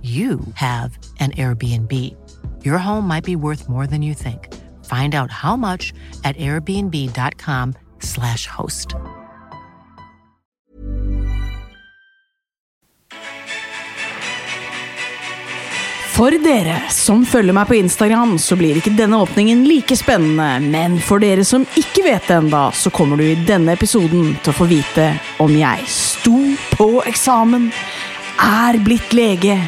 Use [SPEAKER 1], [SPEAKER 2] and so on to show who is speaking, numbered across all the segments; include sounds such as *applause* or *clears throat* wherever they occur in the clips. [SPEAKER 1] you have an Airbnb. Your home might be worth more than you think. Find out how much at airbnb.com/slash host.
[SPEAKER 2] For dere som følger meg på Instagram, så blir ikke denne åpningen like spennende. Men for dere som ikke vet det ennå, så kommer du i denne episoden til å få vite om jeg sto på eksamen, er blitt lege,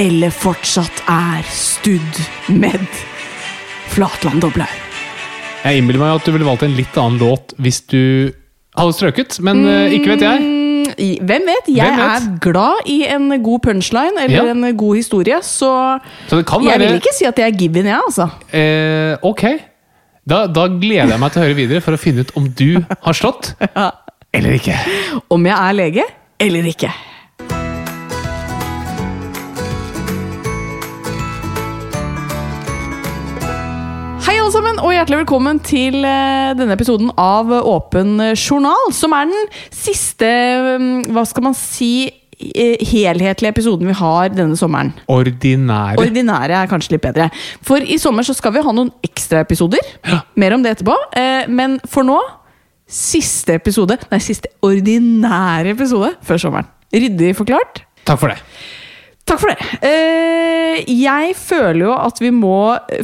[SPEAKER 2] eller fortsatt er stud med Flatland Doblaug.
[SPEAKER 3] Jeg innbiller meg at du ville valgt en litt annen låt hvis du hadde strøket, men eh, ikke vet jeg.
[SPEAKER 2] Mm, i- Hvem vet? Jeg
[SPEAKER 3] Hvem vet?
[SPEAKER 2] er glad i en god punchline eller
[SPEAKER 3] Ja.
[SPEAKER 2] en god historie, så
[SPEAKER 3] Så det kan
[SPEAKER 2] jeg
[SPEAKER 3] være
[SPEAKER 2] vil ikke si at jeg er given, jeg, altså.
[SPEAKER 3] eh, Ok. Da, da gleder jeg meg til å høre videre for å finne ut om du
[SPEAKER 2] *laughs*
[SPEAKER 3] har slått eller ikke.
[SPEAKER 2] Om jeg er lege eller ikke. Hei alle sammen, og hjertelig velkommen til eh, denne episoden av Åpen journal, som er den siste, mm, hva skal man si, eh, helhetlige episoden vi har denne sommeren.
[SPEAKER 3] Ordinære.
[SPEAKER 2] Ordinære er kanskje litt bedre. For i sommer så skal vi ha noen ekstraepisoder.
[SPEAKER 3] Ja.
[SPEAKER 2] Mer om det etterpå. Eh, men for nå siste episode. Nei, siste ordinære episode før sommeren. Ryddig forklart.
[SPEAKER 3] Takk for det.
[SPEAKER 2] Takk for det. Eh, jeg føler jo at vi må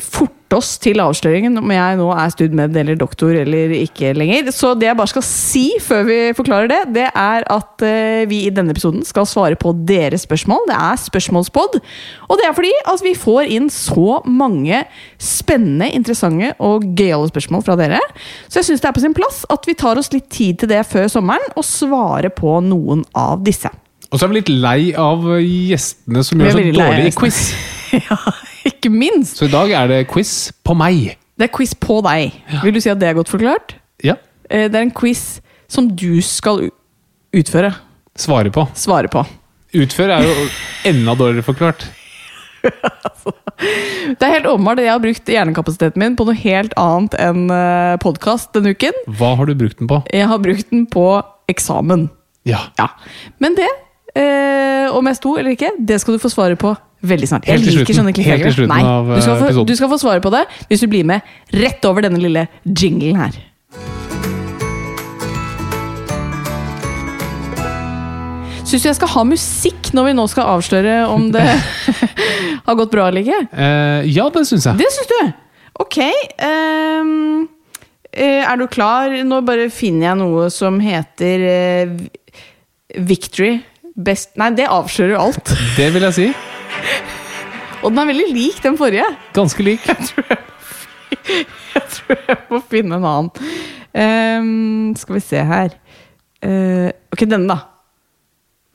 [SPEAKER 2] forte oss til avsløringen om jeg nå er studmed eller doktor eller ikke lenger. Så det jeg bare skal si før vi forklarer det, det er at eh, vi i denne episoden skal svare på deres spørsmål. Det er spørsmålspod. Og det er fordi at vi får inn så mange spennende, interessante og gøyale spørsmål fra dere. Så jeg syns det er på sin plass at vi tar oss litt tid til det før sommeren og svarer på noen av disse.
[SPEAKER 3] Og så er vi litt lei av gjestene som
[SPEAKER 2] Vi er
[SPEAKER 3] gjør så
[SPEAKER 2] veldig lei av
[SPEAKER 3] dårlig i
[SPEAKER 2] gjestene.
[SPEAKER 3] quiz.
[SPEAKER 2] *laughs* ja, ikke minst.
[SPEAKER 3] Så i dag er det quiz på meg.
[SPEAKER 2] Det er quiz på deg. Vil du si at det er godt forklart?
[SPEAKER 3] Ja.
[SPEAKER 2] Eh, Det er en quiz som du skal u- utføre.
[SPEAKER 3] Svare på.
[SPEAKER 2] Svare på.
[SPEAKER 3] Utføre er jo enda dårligere forklart.
[SPEAKER 2] Det er helt åpenbart at jeg har brukt hjernekapasiteten min på noe helt annet enn podkast denne uken.
[SPEAKER 3] Hva har du brukt den på?
[SPEAKER 2] Jeg har brukt den på eksamen.
[SPEAKER 3] Ja.
[SPEAKER 2] Ja. Men det, eh, om jeg sto eller ikke, det skal du få svaret på veldig snart.
[SPEAKER 3] Helt til
[SPEAKER 2] jeg liker
[SPEAKER 3] slutten.
[SPEAKER 2] sånne
[SPEAKER 3] Helt til
[SPEAKER 2] cliffhangere.
[SPEAKER 3] slutten
[SPEAKER 2] Nei,
[SPEAKER 3] av,
[SPEAKER 2] du skal,
[SPEAKER 3] eh,
[SPEAKER 2] få,
[SPEAKER 3] episoden.
[SPEAKER 2] du skal få svaret på det hvis du blir med rett over denne lille jinglen her. Syns du jeg skal ha musikk når vi nå skal avsløre om
[SPEAKER 3] *laughs*
[SPEAKER 2] det *laughs* har gått bra eller ikke?
[SPEAKER 3] Eh, ja, det syns jeg.
[SPEAKER 2] Det syns du? Ok. ehm, eh, er du klar? Nå bare finner jeg noe som heter eh, Vi- Victory. Best Nei, det avslører jo alt.
[SPEAKER 3] Det vil jeg si.
[SPEAKER 2] Og den er veldig lik den forrige. *laughs*
[SPEAKER 3] Ganske lik.
[SPEAKER 2] Jeg tror jeg må finne en annen. Ehm, skal vi se her Eh, Ok, denne, da.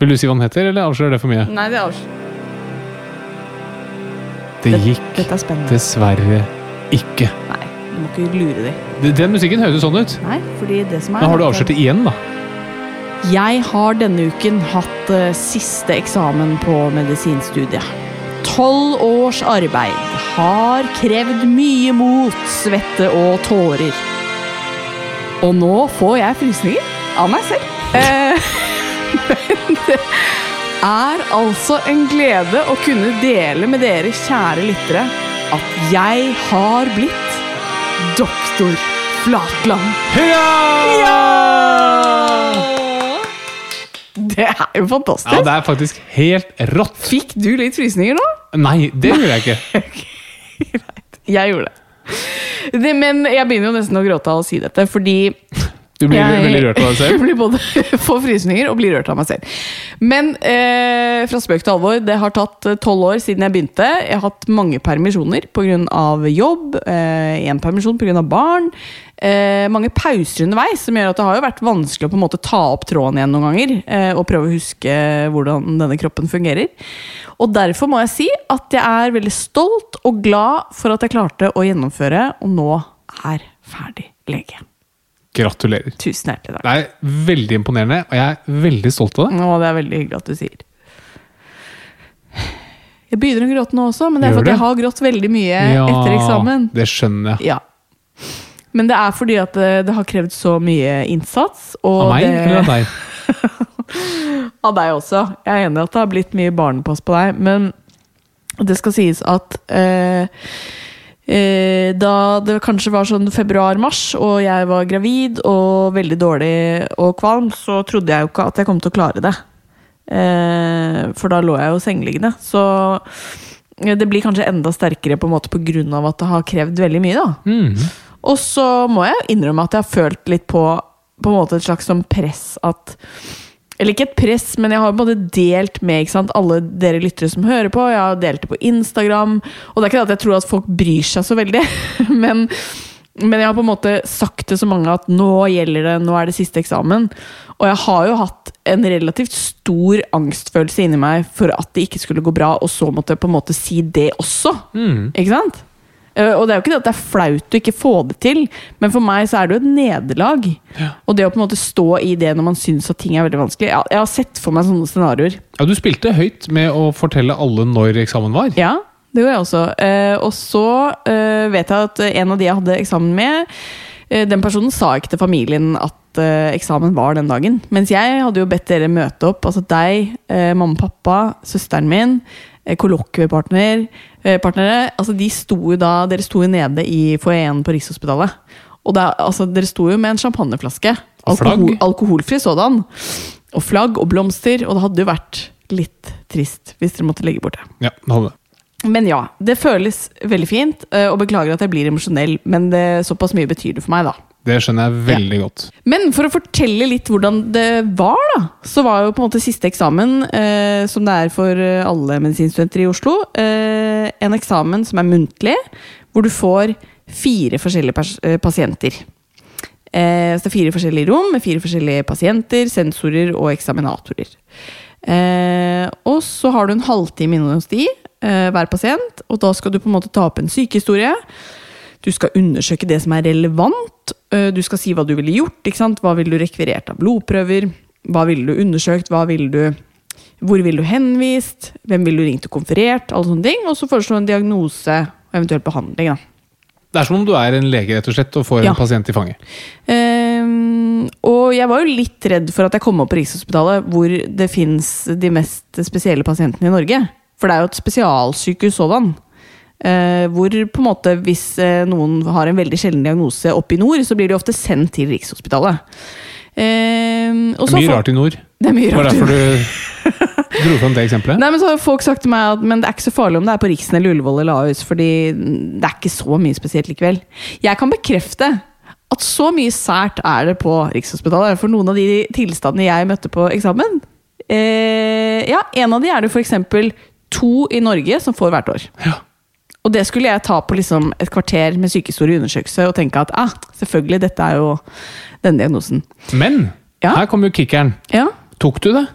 [SPEAKER 3] Vil du si hva den heter, eller avslører det for mye?
[SPEAKER 2] Nei, det avslører
[SPEAKER 3] Det gikk
[SPEAKER 2] Dette er spennende.
[SPEAKER 3] dessverre ikke.
[SPEAKER 2] Nei, Du må ikke lure dem.
[SPEAKER 3] D- Den musikken høres jo sånn ut.
[SPEAKER 2] Nei, fordi det som er
[SPEAKER 3] Da har du avslørt det igjen, da.
[SPEAKER 2] Jeg har denne uken hatt eh, siste eksamen på medisinstudiet. Tolv års arbeid har krevd mye mot, svette og tårer. Og nå får jeg frysninger av meg selv. Eh, *laughs* men det er altså en glede å kunne dele med dere, kjære lyttere, at jeg har blitt doktor Flatland.
[SPEAKER 3] Hurra!
[SPEAKER 2] Det er jo fantastisk.
[SPEAKER 3] Ja, det er faktisk helt rått.
[SPEAKER 2] Fikk du litt frysninger nå?
[SPEAKER 3] Nei, det gjorde jeg ikke.
[SPEAKER 2] Jeg gjorde det. det. Men jeg begynner jo nesten å gråte av å si dette, fordi
[SPEAKER 3] Du blir
[SPEAKER 2] jeg
[SPEAKER 3] veldig rørt av deg
[SPEAKER 2] *laughs*
[SPEAKER 3] selv.
[SPEAKER 2] blir både får frysninger og blir rørt av meg selv. Men eh, fra spøk til alvor, det har tatt eh, tolv år siden jeg begynte. Jeg har hatt mange permisjoner pga. jobb, én eh, permisjon pga. barn. Eh, mange pauser underveis, som gjør at det har jo vært vanskelig å på en måte ta opp tråden igjen noen ganger. Eh, og prøve å huske hvordan denne kroppen fungerer. Og derfor må jeg si at jeg er veldig stolt og glad for at jeg klarte å gjennomføre, og nå er ferdig lege.
[SPEAKER 3] Gratulerer.
[SPEAKER 2] Tusen hjertelig takk.
[SPEAKER 3] Det er veldig imponerende, og jeg er veldig stolt av det.
[SPEAKER 2] Å, det er veldig hyggelig at du sier. Jeg begynner å gråte nå også, men det er
[SPEAKER 3] Gjør
[SPEAKER 2] fordi
[SPEAKER 3] det?
[SPEAKER 2] jeg har grått veldig mye etter eksamen.
[SPEAKER 3] det skjønner jeg.
[SPEAKER 2] Ja. Men det er fordi at det, det har krevd så mye innsats. Og
[SPEAKER 3] Av meg
[SPEAKER 2] det,
[SPEAKER 3] eller av deg?
[SPEAKER 2] Av deg også. Jeg er enig i at det har blitt mye barnepass på deg, men det skal sies at eh, eh, da det kanskje var sånn februar-mars, og jeg var gravid og veldig dårlig og kvalm, så trodde jeg jo ikke at jeg kom til å klare det. Eh, for da lå jeg jo sengeliggende. Så eh, det blir kanskje enda sterkere på en måte på grunn av at det har krevd veldig mye. da. Og så må jeg innrømme at jeg har følt litt på, på en måte et slags sånn press at eller ikke et press, men jeg har både delt med ikke sant? alle dere lyttere som hører på. Jeg har delt det på Instagram. Og det er ikke det at jeg tror at folk bryr seg så veldig, *laughs* men, men jeg har på en måte sagt til så mange at nå gjelder det, nå er det siste eksamen. Og jeg har jo hatt en relativt stor angstfølelse inni meg for at det ikke skulle gå bra, og så måtte jeg på en måte si det også. Ikke sant? Eh, Og det er jo ikke det at det er flaut å ikke få det til, men for meg så er det jo et nederlag. Og det å på en måte stå i det når man syns at ting er veldig vanskelig Jeg, jeg har sett for meg sånne scenarioer.
[SPEAKER 3] Ja, du spilte høyt med å fortelle alle når eksamen var.
[SPEAKER 2] Ja, det gjorde jeg også. Eh, og så eh, vet jeg at en av de jeg hadde eksamen med, eh, den personen sa ikke til familien at eh, eksamen var den dagen. Mens jeg hadde jo bedt dere møte opp. Altså deg, eh, mamma og pappa, søsteren min, eh, kollokviepartner eh, partnere, altså de sto jo da, Dere sto jo nede i foajeen på Rikshospitalet. Og da, altså, dere sto jo med en champagneflaske.
[SPEAKER 3] Og flagg.
[SPEAKER 2] Alkohol, alkoholfri sådan. Og flagg og blomster. Og det hadde jo vært litt trist hvis dere måtte legge bort det.
[SPEAKER 3] Ja, det hadde det.
[SPEAKER 2] Men ja, det føles veldig fint, eh, og beklager at jeg blir emosjonell, men det, såpass mye betyr det for meg, da.
[SPEAKER 3] Det skjønner jeg veldig godt.
[SPEAKER 2] Men for å fortelle litt hvordan det var, da, så var jo på en måte siste eksamen, eh, som det er for eh, alle medisinstudenter i Oslo, eh, en eksamen som er muntlig, hvor du får fire forskjellige pers eh, pasienter. Eh, så det er fire forskjellige rom med fire forskjellige pasienter, sensorer og eksaminatorer. Eh, og så har du en halvtime inne hos de, eh, hver pasient, og da skal du på en måte ta opp en sykehistorie. Du skal undersøke det som er relevant. eh, Du skal si hva du ville gjort. Ikke sant? Hva ville du rekvirert av blodprøver? Hva ville du undersøkt? Hva ville du hvor ville du henvist? Hvem ville du ringt og konferert? Alle sånne ting. Og så foreslå en diagnose og eventuell behandling. Da.
[SPEAKER 3] Det er som om du er en lege rett og slett, og får
[SPEAKER 2] Ja.
[SPEAKER 3] en pasient i fanget.
[SPEAKER 2] Ehm, og jeg var jo litt redd for at jeg kom opp på Rikshospitalet, hvor det fins de mest spesielle pasientene i Norge. For det er jo et spesialsykehus sådan. Eh, hvor på en måte hvis eh, noen har en veldig sjelden diagnose oppe i nord, så blir de ofte sendt til Rikshospitalet. Ehm, og
[SPEAKER 3] Det
[SPEAKER 2] så
[SPEAKER 3] er mye
[SPEAKER 2] får-
[SPEAKER 3] rart i nord.
[SPEAKER 2] Det er mye
[SPEAKER 3] Det
[SPEAKER 2] *laughs*
[SPEAKER 3] var
[SPEAKER 2] rart.
[SPEAKER 3] derfor du *laughs* dro fram det eksempelet.
[SPEAKER 2] Nei, men så har folk sagt til meg at men det er ikke så farlig om det er på Riksen eller Ullevål eller Ahus, fordi det er ikke så mye spesielt likevel. Jeg kan bekrefte at så mye sært er det på Rikshospitalet. For noen av de tilstandene jeg møtte på eksamen eh, Ja, en av de er det f.eks. to i Norge som får hvert år.
[SPEAKER 3] Ja.
[SPEAKER 2] Og det skulle jeg ta på liksom et kvarter med sykehistorie og undersøkelse og tenke at ah, selvfølgelig, dette er jo denne diagnosen.
[SPEAKER 3] Men
[SPEAKER 2] Ja.
[SPEAKER 3] her kommer jo kickeren.
[SPEAKER 2] Ja,
[SPEAKER 3] Tok du det?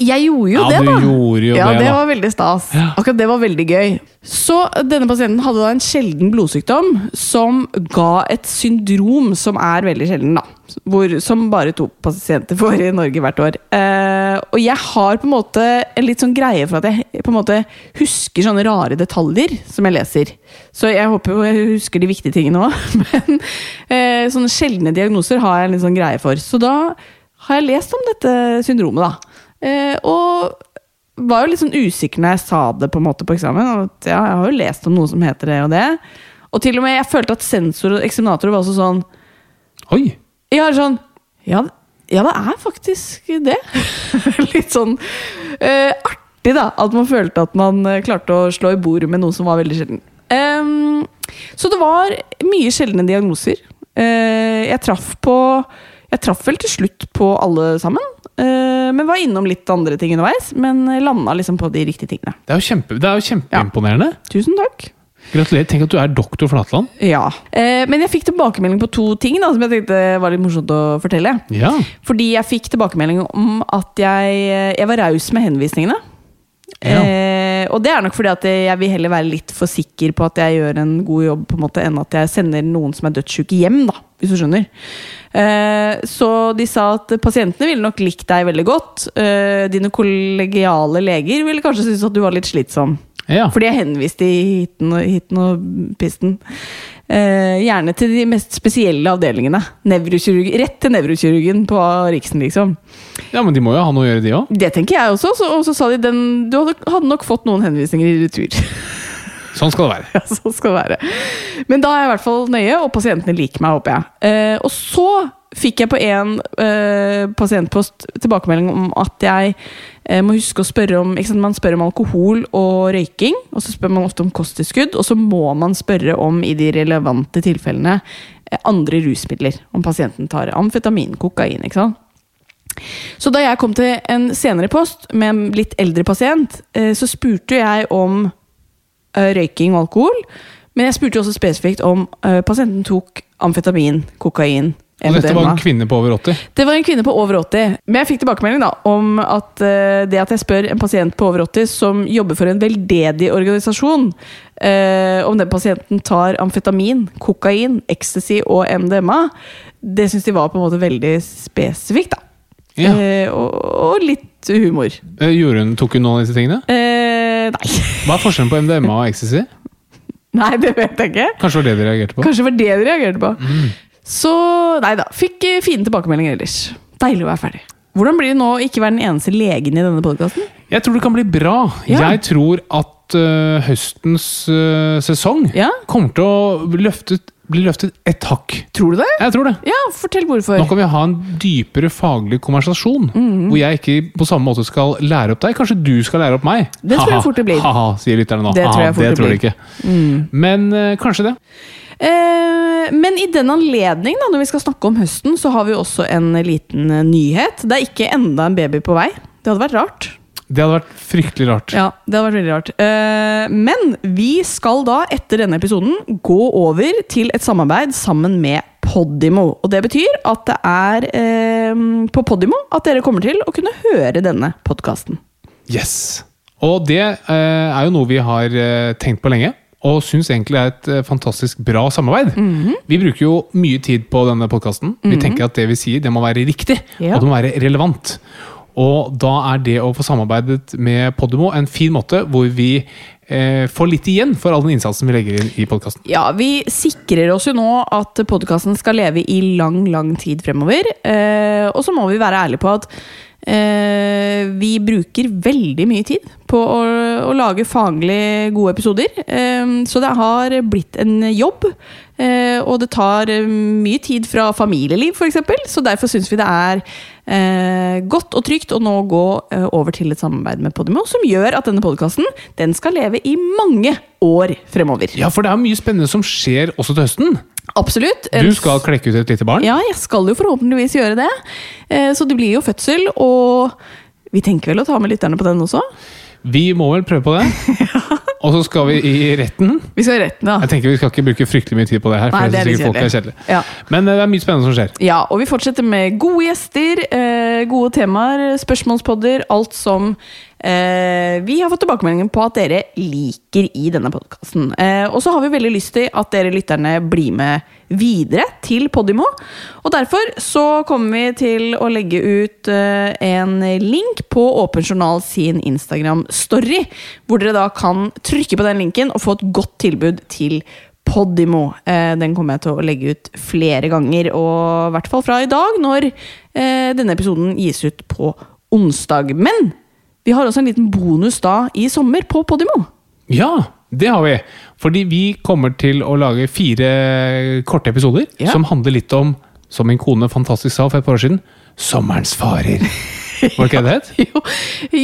[SPEAKER 2] Jeg gjorde jo
[SPEAKER 3] Ja,
[SPEAKER 2] det,
[SPEAKER 3] du
[SPEAKER 2] da.
[SPEAKER 3] gjorde jo
[SPEAKER 2] ja,
[SPEAKER 3] det,
[SPEAKER 2] det
[SPEAKER 3] da.
[SPEAKER 2] var veldig stas.
[SPEAKER 3] Ja.
[SPEAKER 2] Akkurat det var veldig gøy. Så denne pasienten hadde da en sjelden blodsykdom som ga et syndrom som er veldig sjelden, da. Hvor, som bare to pasienter får i Norge hvert år. Eh, og jeg har på en måte en litt sånn greie for at jeg på en måte husker sånne rare detaljer som jeg leser. Så jeg håper jo jeg husker de viktige tingene òg. *laughs* Men eh, sånne sjeldne diagnoser har jeg en litt sånn greie for. Så da har jeg lest om dette syndromet, da. Eh, og var jo litt sånn usikker når jeg sa det på en måte på eksamen. At ja, jeg har jo lest om noe som heter det og det. Og til og med jeg følte at sensor og eksaminator var også sånn
[SPEAKER 3] Oi!
[SPEAKER 2] Jeg har sånn ja, ja, det er faktisk det. *laughs* litt sånn eh, artig, da. At man følte at man eh, klarte å slå i bordet med noe som var veldig sjelden. Ehm, så det var mye sjeldne diagnoser. Eh, jeg traff på Jeg traff vel til slutt på alle sammen. eh, men var innom litt andre ting underveis. Men landa liksom på de riktige tingene.
[SPEAKER 3] Det er jo, kjempe, det er jo kjempeimponerende.
[SPEAKER 2] Tusen takk.
[SPEAKER 3] Gratulerer. Tenk at du er doktor Flatland.
[SPEAKER 2] Ja. Eh, men jeg fikk tilbakemelding på to ting da, som jeg tenkte var litt morsomt å fortelle.
[SPEAKER 3] Ja.
[SPEAKER 2] Fordi jeg fikk tilbakemelding om at jeg, eh, jeg var raus med henvisningene.
[SPEAKER 3] Ja.
[SPEAKER 2] Eh, og det er nok fordi at jeg vil heller være litt for sikker på at jeg gjør en god jobb, på en måte, enn at jeg sender noen som er dødssyke hjem, da, hvis du skjønner. Eh, så de sa at pasientene ville nok likt deg veldig godt. Eh, dine kollegiale leger ville kanskje synes at du var litt slitsom.
[SPEAKER 3] ja.
[SPEAKER 2] Fordi jeg henviste i hiten og, hiten og pisten. Eh, gjerne til de mest spesielle avdelingene. Nevrokirurg, rett til nevrokirurgen på Riksen, liksom.
[SPEAKER 3] ja, men de må jo ha noe å gjøre, de òg.
[SPEAKER 2] Det tenker jeg også, så, og så sa de den, du hadde, hadde nok fått noen henvisninger i retur.
[SPEAKER 3] Sånn skal det være.
[SPEAKER 2] *laughs* Ja, sånn skal det være. Men da er jeg i hvert fall nøye, og pasientene liker meg, håper jeg. Eh, og så fikk jeg på en eh, pasientpost tilbakemelding om at jeg eh, må huske å spørre om ikke sant, Man spør om alkohol og røyking, og så spør man ofte om kosttilskudd. Og så må man spørre om, i de relevante tilfellene, eh, andre rusmidler. Om pasienten tar amfetamin, kokain, ikke sant. Så da jeg kom til en senere post med en litt eldre pasient, eh, så spurte jeg om eh, røyking og alkohol. Men jeg spurte også spesifikt om eh, pasienten tok amfetamin, kokain,
[SPEAKER 3] Og dette var
[SPEAKER 2] MDMA.
[SPEAKER 3] en kvinne på over 80.
[SPEAKER 2] Det var en kvinne på over 80. Men jeg fikk tilbakemelding da, om at eh, det at jeg spør en pasient på over 80 som jobber for en veldedig organisasjon, eh, om den pasienten tar amfetamin, kokain, ecstasy og MDMA, det syns de var på en måte veldig spesifikt. da.
[SPEAKER 3] Ja.
[SPEAKER 2] Eh, og, og litt humor.
[SPEAKER 3] Eh, Gjorde hun, tok hun noen av disse tingene?
[SPEAKER 2] Eh, nei. *laughs*
[SPEAKER 3] Hva er forskjellen på MDMA og ecstasy?
[SPEAKER 2] nei, det vet jeg ikke.
[SPEAKER 3] Kanskje det var det de reagerte på?
[SPEAKER 2] Kanskje det var det de reagerte på. Så nei da. Fikk eh, fine tilbakemeldinger ellers. Deilig å være ferdig. Hvordan blir det nå å ikke være den eneste legen i denne podkasten?
[SPEAKER 3] Jeg tror det kan bli bra.
[SPEAKER 2] Ja.
[SPEAKER 3] Jeg tror at eh, høstens eh, sesong
[SPEAKER 2] Ja.
[SPEAKER 3] kommer til å bli løftet, bli løftet et hakk.
[SPEAKER 2] Tror du det?
[SPEAKER 3] Jeg tror det.
[SPEAKER 2] Ja, fortell hvorfor.
[SPEAKER 3] Nå kan vi ha en dypere faglig konversasjon,
[SPEAKER 2] Mhm.
[SPEAKER 3] hvor jeg ikke på samme måte skal lære opp deg. Kanskje du skal lære opp meg?
[SPEAKER 2] Det tror jeg
[SPEAKER 3] Haha,
[SPEAKER 2] fort det blir.
[SPEAKER 3] Haha, sier lytterne nå.
[SPEAKER 2] Det tror jeg
[SPEAKER 3] Haha,
[SPEAKER 2] fort det Mm.
[SPEAKER 3] tror de ikke. Men eh, kanskje det.
[SPEAKER 2] Eh, men i den anledning, da, når vi skal snakke om høsten, så har vi også en liten eh, nyhet. Det er ikke enda en baby på vei. Det hadde vært rart.
[SPEAKER 3] Det hadde vært fryktelig rart.
[SPEAKER 2] Ja, det hadde vært veldig rart. Eh, men vi skal da, etter denne episoden, gå over til et samarbeid sammen med Podimo. Og det betyr at det er eh, på Podimo at dere kommer til å kunne høre denne podkasten.
[SPEAKER 3] Yes! Og det eh, er jo noe vi har eh, tenkt på lenge, og syns egentlig er et eh, fantastisk bra samarbeid.
[SPEAKER 2] Mhm.
[SPEAKER 3] Vi bruker jo mye tid på denne podkasten. Vi tenker at det vi sier, det må være riktig,
[SPEAKER 2] Ja.
[SPEAKER 3] og det må være relevant. Og da er det å få samarbeidet med Podimo en fin måte hvor vi eh, får litt igjen for all den innsatsen vi legger inn i podkasten.
[SPEAKER 2] Ja, vi sikrer oss jo nå at podkasten skal leve i lang, lang tid fremover. Eh, og så må vi være ærlige på at eh, vi bruker veldig mye tid på å, å lage faglig gode episoder. Eh, så det har blitt en jobb. Eh, og det tar eh, mye tid fra familieliv, f.eks. Så derfor syns vi det er eh, godt og trygt å nå gå eh, over til et samarbeid med Podimo, som gjør at denne podkasten den skal leve i mange år fremover.
[SPEAKER 3] Ja, for det er mye spennende som skjer også til høsten.
[SPEAKER 2] Absolutt.
[SPEAKER 3] Du skal klekke ut et lite barn.
[SPEAKER 2] Ja, jeg skal jo forhåpentligvis gjøre det. Eh, Så det blir jo fødsel, og vi tenker vel å ta med lytterne på den også? *laughs*
[SPEAKER 3] Vi må vel prøve på det. Og så skal vi i retten.
[SPEAKER 2] Vi skal i retten, da.
[SPEAKER 3] Jeg tenker Vi skal ikke bruke fryktelig mye tid på det her. For
[SPEAKER 2] Nei,
[SPEAKER 3] jeg
[SPEAKER 2] det er
[SPEAKER 3] synes
[SPEAKER 2] litt
[SPEAKER 3] sikkert folk er
[SPEAKER 2] kjedelig.
[SPEAKER 3] kjedelige.
[SPEAKER 2] Ja.
[SPEAKER 3] Men eh, det er mye spennende som skjer.
[SPEAKER 2] Ja, og vi fortsetter med gode gjester, eh, gode temaer, spørsmålspodder, alt som eh, vi har fått tilbakemeldinger på at dere liker i denne podkasten. Eh, og så har vi veldig lyst til at dere lytterne blir med videre til Podimo. Og derfor så kommer vi til å legge ut eh, en link på Åpen journal sin Instagram-story, hvor dere da kan trykke på den linken og få et godt tilbud til Podimo. Eh, Den kommer jeg til å legge ut flere ganger, og i hvert fall fra i dag, når eh, denne episoden gis ut på onsdag. Men vi har også en liten bonus da i sommer på Podimo. *laughs*
[SPEAKER 3] Ja, det har vi. Fordi vi kommer til å lage fire korte episoder
[SPEAKER 2] Ja.
[SPEAKER 3] som handler litt om, som min kone fantastisk sa for et par år siden, sommerens
[SPEAKER 2] *laughs*
[SPEAKER 3] farer. Var det ikke det det het?
[SPEAKER 2] Jo,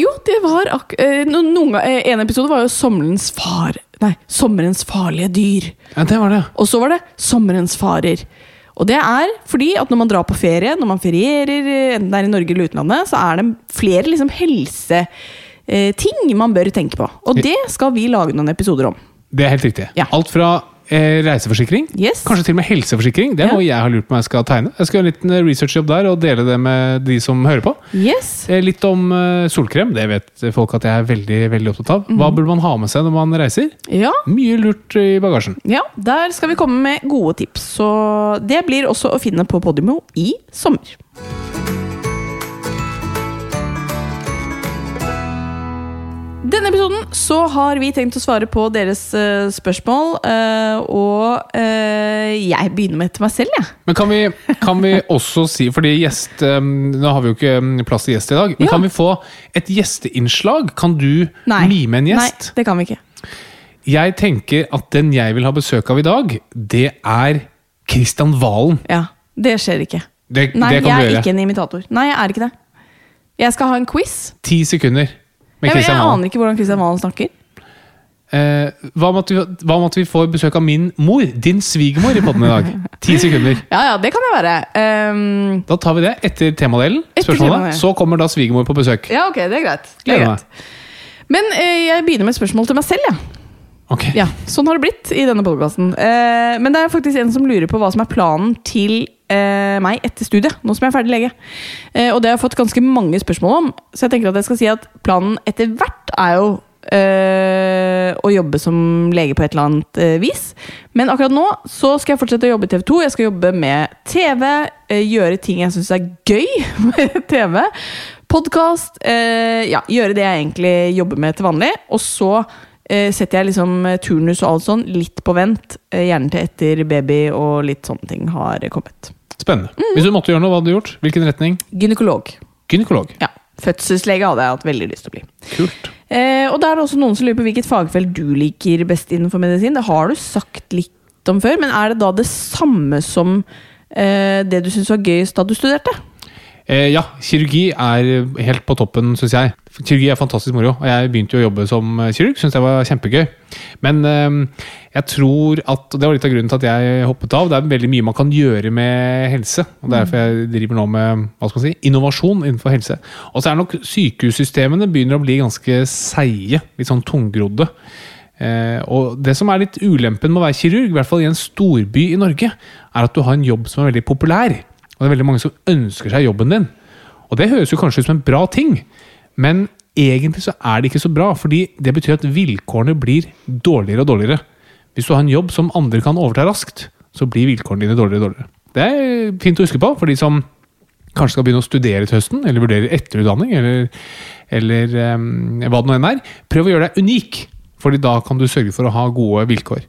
[SPEAKER 2] jo det var ak eh, no, noen, ga- eh, En episode var jo sommerens far... Nei, sommerens farlige dyr.
[SPEAKER 3] Ja, det var det.
[SPEAKER 2] Og så var det sommerens farer. Og det er fordi at når man drar på ferie, når man ferierer, eh, enten det er i Norge eller utlandet, så er det flere liksom helseting man bør tenke på. Og det skal vi lage noen episoder om.
[SPEAKER 3] Det er helt riktig.
[SPEAKER 2] Ja.
[SPEAKER 3] Alt fra eh, reiseforsikring,
[SPEAKER 2] Yes.
[SPEAKER 3] kanskje til og med helseforsikring. Det er
[SPEAKER 2] Ja.
[SPEAKER 3] noe jeg har lurt på om jeg skal tegne. Jeg skal gjøre en liten eh, researchjobb der og dele det med de som hører på.
[SPEAKER 2] Yes.
[SPEAKER 3] Eh, Litt om eh, solkrem. Det vet folk at jeg er veldig, veldig opptatt av. Hva
[SPEAKER 2] Mhm.
[SPEAKER 3] burde man ha med seg når man reiser?
[SPEAKER 2] Ja.
[SPEAKER 3] Mye lurt i bagasjen.
[SPEAKER 2] ja, der skal vi komme med gode tips. Så det blir også å finne på Podimo i sommer. denne episoden så har vi tenkt å svare på deres eh, spørsmål. eh, og eh, jeg begynner med til meg selv, jeg.
[SPEAKER 3] Men kan vi, kan
[SPEAKER 2] *laughs*
[SPEAKER 3] vi også si, fordi gjest eh, Nå har vi jo ikke eh, plass til gjest i dag, men
[SPEAKER 2] Ja.
[SPEAKER 3] kan vi få et gjesteinnslag? Kan du
[SPEAKER 2] Nei.
[SPEAKER 3] mime en gjest?
[SPEAKER 2] Nei, det kan vi ikke.
[SPEAKER 3] Jeg tenker at den jeg vil ha besøk av i dag, det er Kristian Valen.
[SPEAKER 2] Ja, Det skjer ikke.
[SPEAKER 3] Det,
[SPEAKER 2] Nei,
[SPEAKER 3] det
[SPEAKER 2] jeg
[SPEAKER 3] kan du
[SPEAKER 2] er
[SPEAKER 3] gjøre.
[SPEAKER 2] ikke en imitator. Nei, jeg er ikke det. Jeg skal ha en quiz.
[SPEAKER 3] Ti sekunder med
[SPEAKER 2] Jeg, jeg
[SPEAKER 3] Kristian Valen.
[SPEAKER 2] aner ikke hvordan Kristian Valen snakker.
[SPEAKER 3] Eh, hva om at vi, hva om at vi får besøk av min mor, din svigermor, i podden i dag?
[SPEAKER 2] *laughs*
[SPEAKER 3] Ti sekunder.
[SPEAKER 2] Ja, ja, det kan jeg være. Ehm,
[SPEAKER 3] Da tar vi det etter temadelen.
[SPEAKER 2] Etter
[SPEAKER 3] Spørsmålet.
[SPEAKER 2] temadelen.
[SPEAKER 3] Så kommer da svigermor på besøk.
[SPEAKER 2] ja, ok, det er greit. Det er
[SPEAKER 3] Gleder
[SPEAKER 2] greit. Men eh, jeg begynner med et spørsmål til meg selv, ja.
[SPEAKER 3] Ok.
[SPEAKER 2] Ja, sånn har det blitt i denne podkasten. men det er faktisk en som lurer på hva som er planen til eh, meg etter studiet. Nå som jeg er ferdig lege. Eh, og det har jeg fått ganske mange spørsmål om. Så jeg tenker at jeg skal si at planen etter hvert er jo eh, å jobbe som lege på et eller annet eh, vis. Men akkurat nå så skal jeg fortsette å jobbe i TV 2. Jeg skal jobbe med TV. eh, gjøre ting jeg syns er gøy *laughs* med TV. Podkast. Eh, ja, gjøre det jeg egentlig jobber med til vanlig. Og så eh, setter jeg liksom eh, turnus og alt sånn litt på vent. eh, gjerne til etter baby og litt sånne ting har eh, kommet.
[SPEAKER 3] Spennende.
[SPEAKER 2] Mm.
[SPEAKER 3] Hvis du måtte gjøre noe, hva hadde du gjort? Hvilken retning?
[SPEAKER 2] Gynekolog.
[SPEAKER 3] Gynekolog.
[SPEAKER 2] Ja. Fødselslege hadde jeg hatt veldig lyst til å bli.
[SPEAKER 3] Kult.
[SPEAKER 2] Eh, og da er det også noen som lurer på hvilket fagfelt du liker best innenfor medisin. Det har du sagt litt om før, men er det da det samme som eh, det du syntes var gøyest da du studerte?
[SPEAKER 3] Eh, ja, kirurgi er helt på toppen, syns jeg. Kirurgi er fantastisk moro, og jeg begynte jo å jobbe som eh, kirurg. Syns det var kjempegøy. Men eh, jeg tror at og Det var litt av grunnen til at jeg hoppet av. Det er veldig mye man kan gjøre med helse. og
[SPEAKER 2] Mm.
[SPEAKER 3] Det er derfor jeg driver nå med hva skal man si, innovasjon innenfor helse. Og så er nok sykehussystemene begynner å bli ganske seige. Litt sånn tungrodde. Eh, og det som er litt ulempen med å være kirurg, i hvert fall i en storby i Norge, er at du har en jobb som er veldig populær. Og det er veldig mange som ønsker seg jobben din. Og det høres jo kanskje ut som en bra ting, men egentlig så er det ikke så bra. Fordi det betyr at vilkårene blir dårligere og dårligere. Hvis du har en jobb som andre kan overta raskt, så blir vilkårene dine dårligere og dårligere. Det er fint å huske på for de som kanskje skal begynne å studere til høsten, eller vurdere etterutdanning, eller, eller eh, hva det nå enn er. Prøv å gjøre deg unik, fordi da kan du sørge for å ha gode vilkår.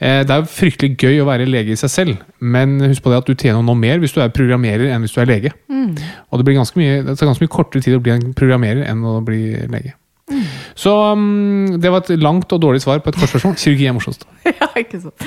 [SPEAKER 3] Eh, Det er jo fryktelig gøy å være lege i seg selv, men husk på det at du tjener noe mer hvis du er programmerer enn hvis du er lege. Og det, blir ganske mye, det tar ganske mye kortere tid å bli en programmerer enn å bli lege. Så mm, det var et langt og dårlig svar på et kort spørsmål. Kirurgi er morsomst.
[SPEAKER 2] *laughs* ja, ikke sant.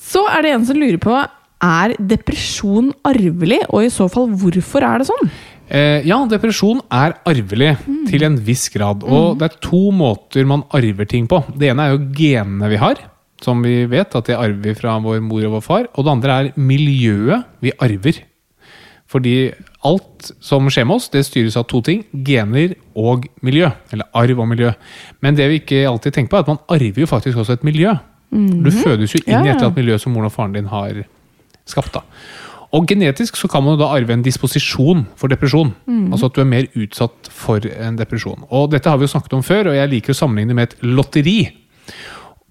[SPEAKER 2] Så er det en som lurer på er depresjon arvelig, og i så fall hvorfor er det sånn?
[SPEAKER 3] Eh, ja, depresjon er arvelig til en viss grad. Og det er to måter man arver ting på. Det ene er jo genene vi har, som vi vet at det arver vi fra vår mor og vår far. Og det andre er miljøet vi arver. Fordi alt som skjer med oss, det styres av to ting. Gener og miljø. Eller arv og miljø. Men det vi ikke alltid tenker på, er at man arver jo faktisk også et miljø. Du fødes jo inn
[SPEAKER 2] Mhm. Ja,
[SPEAKER 3] i et eller
[SPEAKER 2] ja.
[SPEAKER 3] annet miljø som moren og faren din har skapt. da. Og genetisk så kan man jo da arve en disposisjon for depresjon.
[SPEAKER 2] Mhm.
[SPEAKER 3] Altså at du er mer utsatt for en depresjon. Og dette har vi jo snakket om før, og jeg liker å sammenligne det med et lotteri.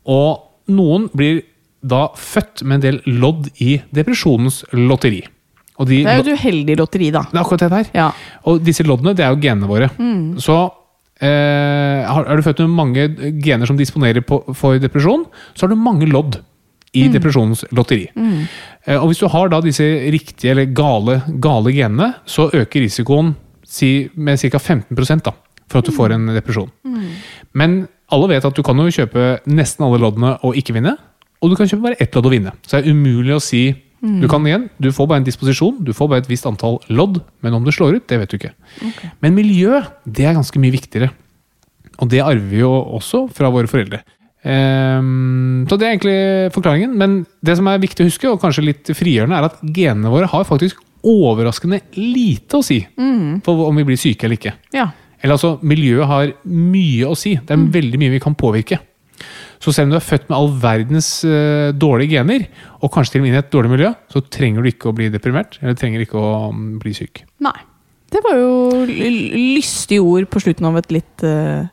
[SPEAKER 3] Og noen blir da født med en del lodd i depresjonens lotteri. Og de
[SPEAKER 2] Det er jo et uheldig lotteri, da.
[SPEAKER 3] det er akkurat det der.
[SPEAKER 2] Ja.
[SPEAKER 3] Og disse loddene, det er jo genene våre. Så eh, har- er du født med mange gener som disponerer på, for depresjon, så har du mange lodd i depresjonens lotteri. Eh, og hvis du har da disse riktige eller gale, gale genene, så øker risikoen si, med ca. 15 da, for at du får en depresjon. Men alle vet at du kan jo kjøpe nesten alle loddene og ikke vinne, og du kan kjøpe bare ett lodd og vinne. Så det er umulig å si Du kan igjen, du får bare en disposisjon, du får bare et visst antall lodd, men om det slår ut, det vet du ikke. Men miljø, det er ganske mye viktigere. Og det arver vi jo også fra våre foreldre. Ehm, så det er egentlig forklaringen. Men det som er viktig å huske, og kanskje litt frigjørende, er at genene våre har faktisk overraskende lite å si for om vi blir syke eller ikke.
[SPEAKER 2] Ja.
[SPEAKER 3] Eller altså, miljøet har mye å si. Det er veldig mye vi kan påvirke. Så selv om du er født med all verdens eh, dårlige gener, og kanskje til og med inn i et dårlig miljø, så trenger du ikke å bli deprimert, eller trenger ikke å mm, bli syk.
[SPEAKER 2] Nei. Det var jo l- lystige ord på slutten av et litt eh,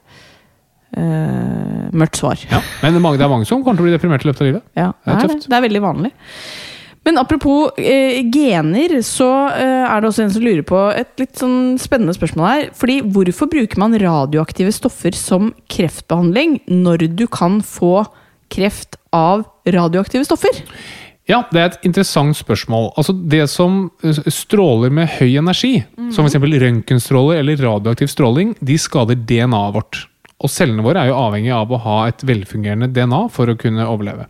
[SPEAKER 2] eh, mørkt svar.
[SPEAKER 3] Ja. Men det er mange, det er mange som kommer til å bli deprimert i løpet av livet.
[SPEAKER 2] Ja,
[SPEAKER 3] Det er
[SPEAKER 2] det er
[SPEAKER 3] tøft.
[SPEAKER 2] Det. det er veldig vanlig. Men apropos eh, gener, så eh, er det også en som lurer på et litt sånn spennende spørsmål her. Fordi hvorfor bruker man radioaktive stoffer som kreftbehandling når du kan få kreft av radioaktive stoffer?
[SPEAKER 3] Ja, det er et interessant spørsmål. Altså Det som eh, stråler med høy energi, som f.eks. røntgenstråler eller radioaktiv stråling, de skader DNA-et vårt. Og cellene våre er jo avhengig av å ha et velfungerende DNA for å kunne overleve.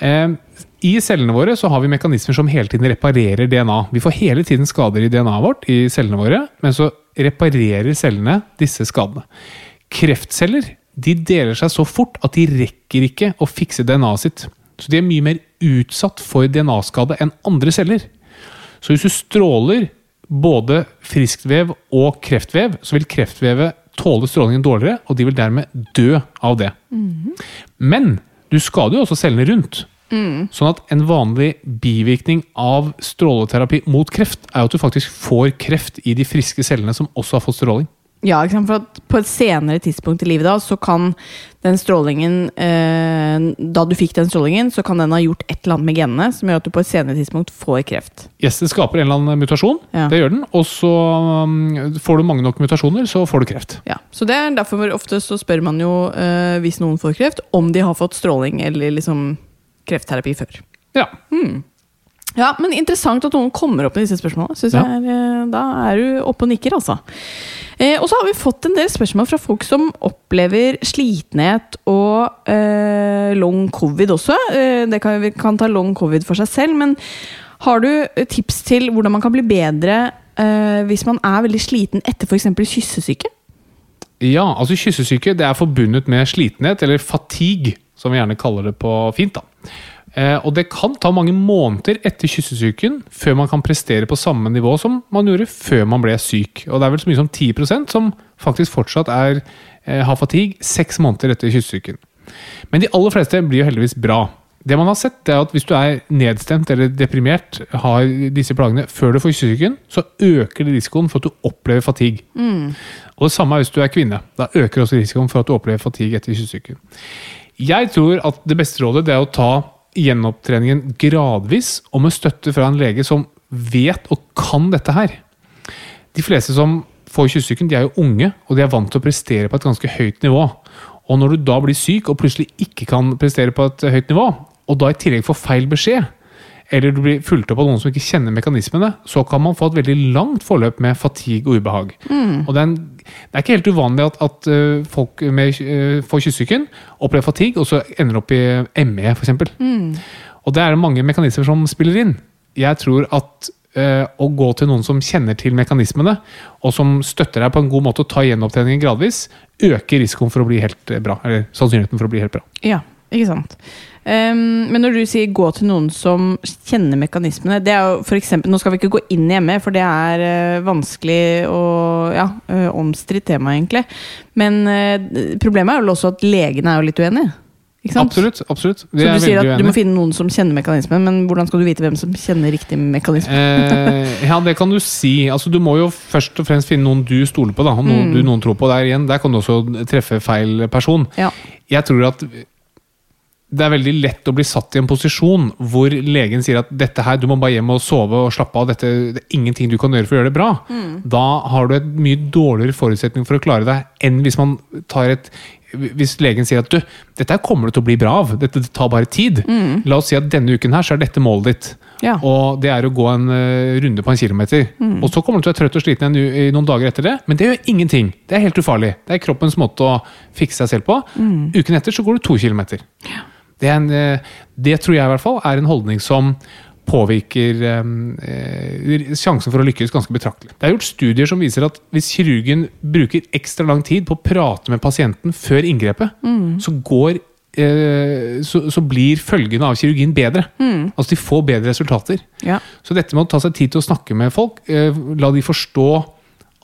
[SPEAKER 3] Eh, I cellene våre så har vi mekanismer som hele tiden reparerer DNA. Vi får hele tiden skader i DNA-et vårt, i cellene våre, men så reparerer cellene disse skadene. Kreftceller de deler seg så fort at de rekker ikke å fikse DNA-et sitt. Så de er mye mer utsatt for DNA-skade enn andre celler. Så hvis du stråler både friskt vev og kreftvev, så vil kreftvevet tåle strålingen dårligere, og de vil dermed dø av det. Men du skader jo også cellene rundt. Sånn at en vanlig bivirkning av stråleterapi mot kreft er jo at du faktisk får kreft i de friske cellene som også har fått stråling.
[SPEAKER 2] Ja, ikke sant? for at på et senere tidspunkt i livet da, så kan den strålingen eh, Da du fikk den strålingen, så kan den ha gjort et eller annet med genene som gjør at du på et senere tidspunkt får kreft.
[SPEAKER 3] Yes, det skaper en eller annen mutasjon,
[SPEAKER 2] Ja.
[SPEAKER 3] det gjør den, og så um, får du mange nok mutasjoner, så får du kreft.
[SPEAKER 2] Ja, så det er derfor hvor ofte så spør man jo, eh, hvis noen får kreft, om de har fått stråling eller liksom kreftterapi før.
[SPEAKER 3] Ja,
[SPEAKER 2] Ja, men interessant at noen kommer opp med disse spørsmålene. Synes
[SPEAKER 3] Ja.
[SPEAKER 2] jeg er, eh, da er du oppe og nikker, altså. Eh, og så har vi fått en del spørsmål fra folk som opplever slitenhet og eh, long covid også. Eh, det kan, vi kan ta long covid for seg selv, men har du eh, tips til hvordan man kan bli bedre eh, hvis man er veldig sliten etter f.eks. kyssesyke?
[SPEAKER 3] ja altså kyssesyke det er forbundet med slitenhet, eller fatigue, som vi gjerne kaller det på fint. da. Eh, og det kan ta mange måneder etter kyssesyken før man kan prestere på samme nivå som man gjorde før man ble syk. Og det er vel så mye som 10 som faktisk fortsatt er, eh, har fatigue seks måneder etter kyssesyken. Men de aller fleste blir jo heldigvis bra. Det man har sett det er at Hvis du er nedstemt eller deprimert, har disse plagene før du får kyssesyken, så øker det risikoen for at du opplever fatigue. Og det samme er hvis du er kvinne. Da øker også risikoen for at du opplever fatigue etter kyssesyken. Jeg tror at det beste rådet det er å ta gjenopptreningen gradvis og med støtte fra en lege som vet og kan dette her. De fleste som får kyssesyken, de er jo unge, og de er vant til å prestere på et ganske høyt nivå. Og når du da blir syk og plutselig ikke kan prestere på et høyt nivå, og da i tillegg får feil beskjed, eller du blir fulgt opp av noen som ikke kjenner mekanismene, så kan man få et veldig langt forløp med fatigue og ubehag. Og det er, en, det er ikke helt uvanlig at, at øh, folk med, øh, får kyssesyken, opplever fatigue, og så ender opp i ME, f.eks. eksempel. Og det er det mange mekanismer som spiller inn. Jeg tror at eh, å gå til noen som kjenner til mekanismene, og som støtter deg på en god måte og tar gjenopptreningen gradvis, øker risikoen for å bli helt eh, bra. Eller sannsynligheten for å bli helt bra.
[SPEAKER 2] Ja. Ikke sant. Ehm, men når du sier gå til noen som kjenner mekanismene det er jo for eksempel, Nå skal vi ikke gå inn i ME, for det er eh, vanskelig og ja, eh, omstridt tema, egentlig. Men eh, problemet er vel også at legene er jo litt uenige. Ikke sant?
[SPEAKER 3] Absolutt. absolutt. Vi
[SPEAKER 2] Så
[SPEAKER 3] er
[SPEAKER 2] du sier
[SPEAKER 3] veldig
[SPEAKER 2] at du
[SPEAKER 3] uenige.
[SPEAKER 2] må finne noen som kjenner mekanismen, men hvordan skal du vite hvem som kjenner riktig mekanisme?
[SPEAKER 3] Eh, ja, det kan du si. Altså, du må jo først og fremst finne noen du stoler på. Da. og
[SPEAKER 2] Mm.
[SPEAKER 3] Noen, du, noen tror på der igjen. Der kan du også treffe feil person.
[SPEAKER 2] Ja.
[SPEAKER 3] Jeg tror at det er veldig lett å bli satt i en posisjon hvor legen sier at dette her, du må bare hjem og sove og slappe av, dette, det er ingenting du kan gjøre for å gjøre det bra.
[SPEAKER 2] Mm.
[SPEAKER 3] Da har du et mye dårligere forutsetning for å klare deg enn hvis man tar et hvis legen sier at du, dette her kommer du til å bli bra av, dette tar bare tid. La oss si at denne uken her så er dette målet ditt.
[SPEAKER 2] Mm. Ja.
[SPEAKER 3] Og det er å gå en eh, runde på en kilometer. Og så kommer du til å være trøtt og sliten en, u- i noen dager etter det, men det gjør ingenting. Det er helt ufarlig. Det er kroppens måte å fikse seg selv på. Uken etter så går du to kilometer. Det, er en, eh, det tror jeg i hvert fall er en holdning som påvirker eh, eh, sjansen for å lykkes ganske betraktelig. Det er gjort studier som viser at hvis kirurgen bruker ekstra lang tid på å prate med pasienten før inngrepet, så går eh, så, så blir følgene av kirurgien bedre. Altså de får bedre resultater.
[SPEAKER 2] Ja.
[SPEAKER 3] Så dette med å ta seg tid til å snakke med folk, eh, la de forstå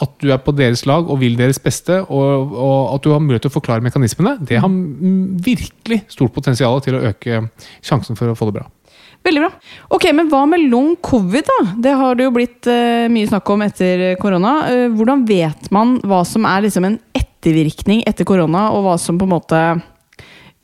[SPEAKER 3] at du er på deres lag og vil deres beste, og, og at du har mulighet til å forklare mekanismene, det har mm, virkelig stort potensial til å øke sjansen for å få det bra.
[SPEAKER 2] Veldig bra. Ok, Men hva med long covid? da? Det har det jo blitt eh, mye snakk om etter korona. Eh, hvordan vet man hva som er liksom en ettervirkning etter korona, og hva som på en måte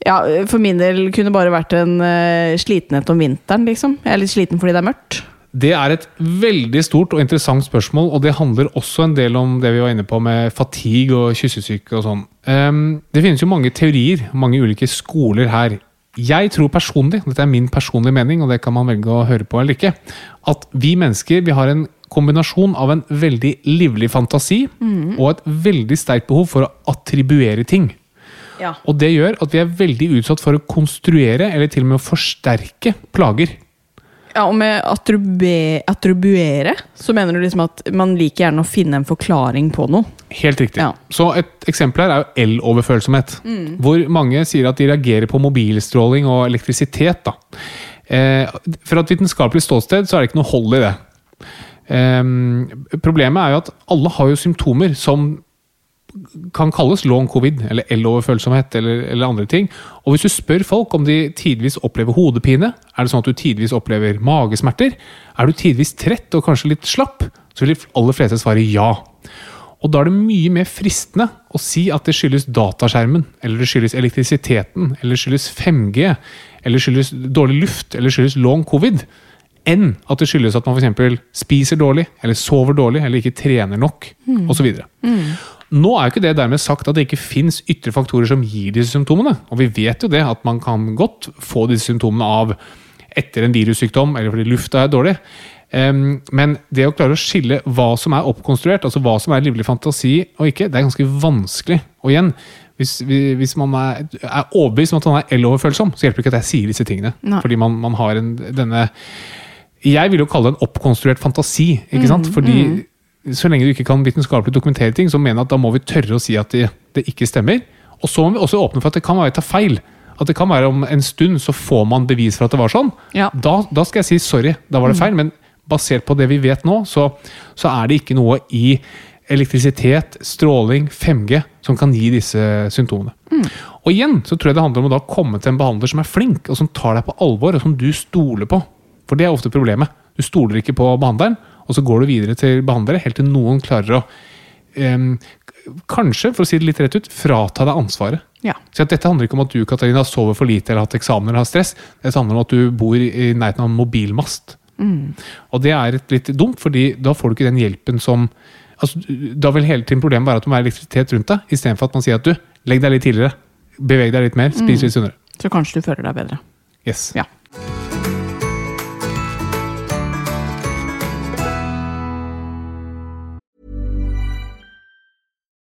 [SPEAKER 2] ja, For min del kunne bare vært en eh, slitenhet om vinteren, liksom. Jeg er litt sliten fordi det er mørkt.
[SPEAKER 3] Det er et veldig stort og interessant spørsmål, og det handler også en del om det vi var inne på med fatigue og kyssesyke og sånn. Ehm, det finnes jo mange teorier, mange ulike skoler her. Jeg tror personlig, dette er min personlige mening, og det kan man velge å høre på eller ikke, at vi mennesker vi har en kombinasjon av en veldig livlig fantasi og et veldig sterkt behov for å attribuere ting.
[SPEAKER 2] Ja.
[SPEAKER 3] Og det gjør at vi er veldig utsatt for å konstruere eller til og med å forsterke plager.
[SPEAKER 2] Ja, Og med attribue, attribuere, så mener du liksom at man liker gjerne å finne en forklaring på noe.
[SPEAKER 3] Helt riktig.
[SPEAKER 2] Ja.
[SPEAKER 3] Så et eksempel her er jo el-overfølsomhet. Hvor mange sier at de reagerer på mobilstråling og elektrisitet. da. Eh, fra et vitenskapelig ståsted så er det ikke noe hold i det. Eh, problemet er jo at alle har jo symptomer som kan kalles long covid, eller el-overfølsomhet, eller, eller andre ting. Og hvis du spør folk om de tidvis opplever hodepine, er det sånn at du tidvis opplever magesmerter, er du tidvis trett og kanskje litt slapp, så vil de aller fleste svare ja. Og da er det mye mer fristende å si at det skyldes dataskjermen, eller det skyldes elektrisiteten, eller det skyldes 5G, eller det skyldes dårlig luft, eller det skyldes long covid, enn at det skyldes at man f.eks. spiser dårlig, eller sover dårlig, eller ikke trener nok, osv. Nå er jo ikke det dermed sagt at det ikke fins ytre faktorer som gir disse symptomene. Og vi vet jo det, at man kan godt få disse symptomene av etter en virussykdom, eller fordi lufta er dårlig. Ehm, men det å klare å skille hva som er oppkonstruert, altså hva som er livlig fantasi og ikke, det er ganske vanskelig. Og igjen, hvis, vi- hvis man er, er overbevist om at man er el-overfølsom, så hjelper det ikke at jeg sier disse tingene.
[SPEAKER 2] Nei.
[SPEAKER 3] Fordi man, man har en, denne jeg vil jo kalle det en oppkonstruert fantasi. ikke sant? Fordi Så lenge du ikke kan vitenskapelig dokumentere ting, så mener jeg at da må vi tørre å si at det, det ikke stemmer. Og så må vi også åpne for at det kan være vi tar feil. At det kan være om en stund så får man bevis for at det var sånn.
[SPEAKER 2] Ja.
[SPEAKER 3] Da, da skal jeg si sorry, da var det feil. Men basert på det vi vet nå, så, så er det ikke noe i elektrisitet, stråling, 5G som kan gi disse symptomene. Og igjen så tror jeg det handler om å da komme til en behandler som er flink, og som tar deg på alvor, og som du stoler på. For det er ofte problemet. Du stoler ikke på behandleren, og så går du videre til behandlere helt til noen klarer å em, k- Kanskje, for å si det litt rett ut, frata deg ansvaret.
[SPEAKER 2] Ja.
[SPEAKER 3] Så at dette handler ikke om at du Katarina, sover for lite eller har hatt eksamener eller har stress. Dette handler om at du bor i nærheten av en mobilmast. Og det er et litt dumt, fordi da får du ikke den hjelpen som altså, Da vil hele tiden problemet være at det må være elektrisitet rundt deg, istedenfor at man sier at du, legg deg litt tidligere, beveg deg litt mer, spis litt sunnere.
[SPEAKER 2] Så kanskje du føler deg bedre.
[SPEAKER 3] Yes.
[SPEAKER 2] Ja.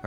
[SPEAKER 4] All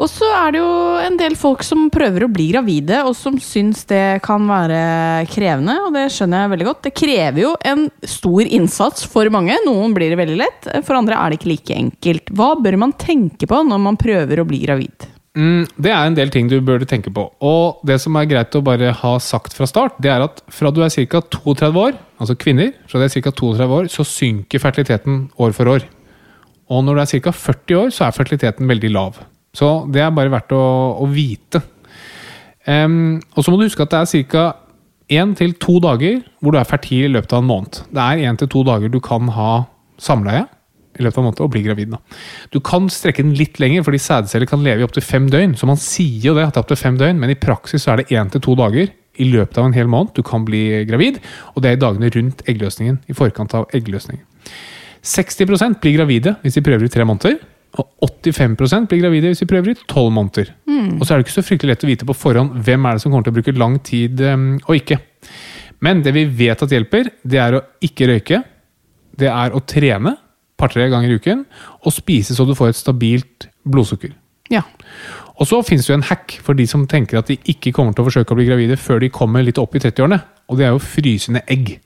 [SPEAKER 2] Og så er det jo en del folk som prøver å bli gravide, og som syns det kan være krevende. Og det skjønner jeg veldig godt. Det krever jo en stor innsats for mange. Noen blir det veldig lett, for andre er det ikke like enkelt. Hva bør man tenke på når man prøver å bli gravid?
[SPEAKER 3] Mm, det er en del ting du burde tenke på. Og det som er greit å bare ha sagt fra start, det er at fra du er ca. 32 år, altså kvinner, fra du er cirka 32 år, så synker fertiliteten år for år. Og når du er ca. 40 år, så er fertiliteten veldig lav. Så det er bare verdt å, å vite. Em, og så må du huske at det er ca. én til to dager hvor du er fertil i løpet av en måned. Det er én til to dager du kan ha samleie i løpet av en måned og bli gravid. Da. Du kan strekke den litt lenger, fordi sædceller kan leve i opptil fem døgn. Så man sier jo det, at det er opptil fem døgn, men i praksis så er det én til to dager i løpet av en hel måned du kan bli gravid. Og det er i dagene rundt eggløsningen, i forkant av eggløsningen. 60 blir gravide hvis de prøver i tre måneder. Og 85 blir gravide hvis de prøver i tolv måneder. Og så er det ikke så fryktelig lett å vite på forhånd hvem er det som kommer til å bruke lang tid øhm, og ikke. Men det vi vet at hjelper, det er å ikke røyke. Det er å trene par-tre ganger i uken. Og spise så du får et stabilt blodsukker.
[SPEAKER 2] Ja.
[SPEAKER 3] Og så finnes det jo en hack for de som tenker at de ikke kommer til å forsøke å bli gravide før de kommer litt opp i 30-årene, og det er jo frysende egg.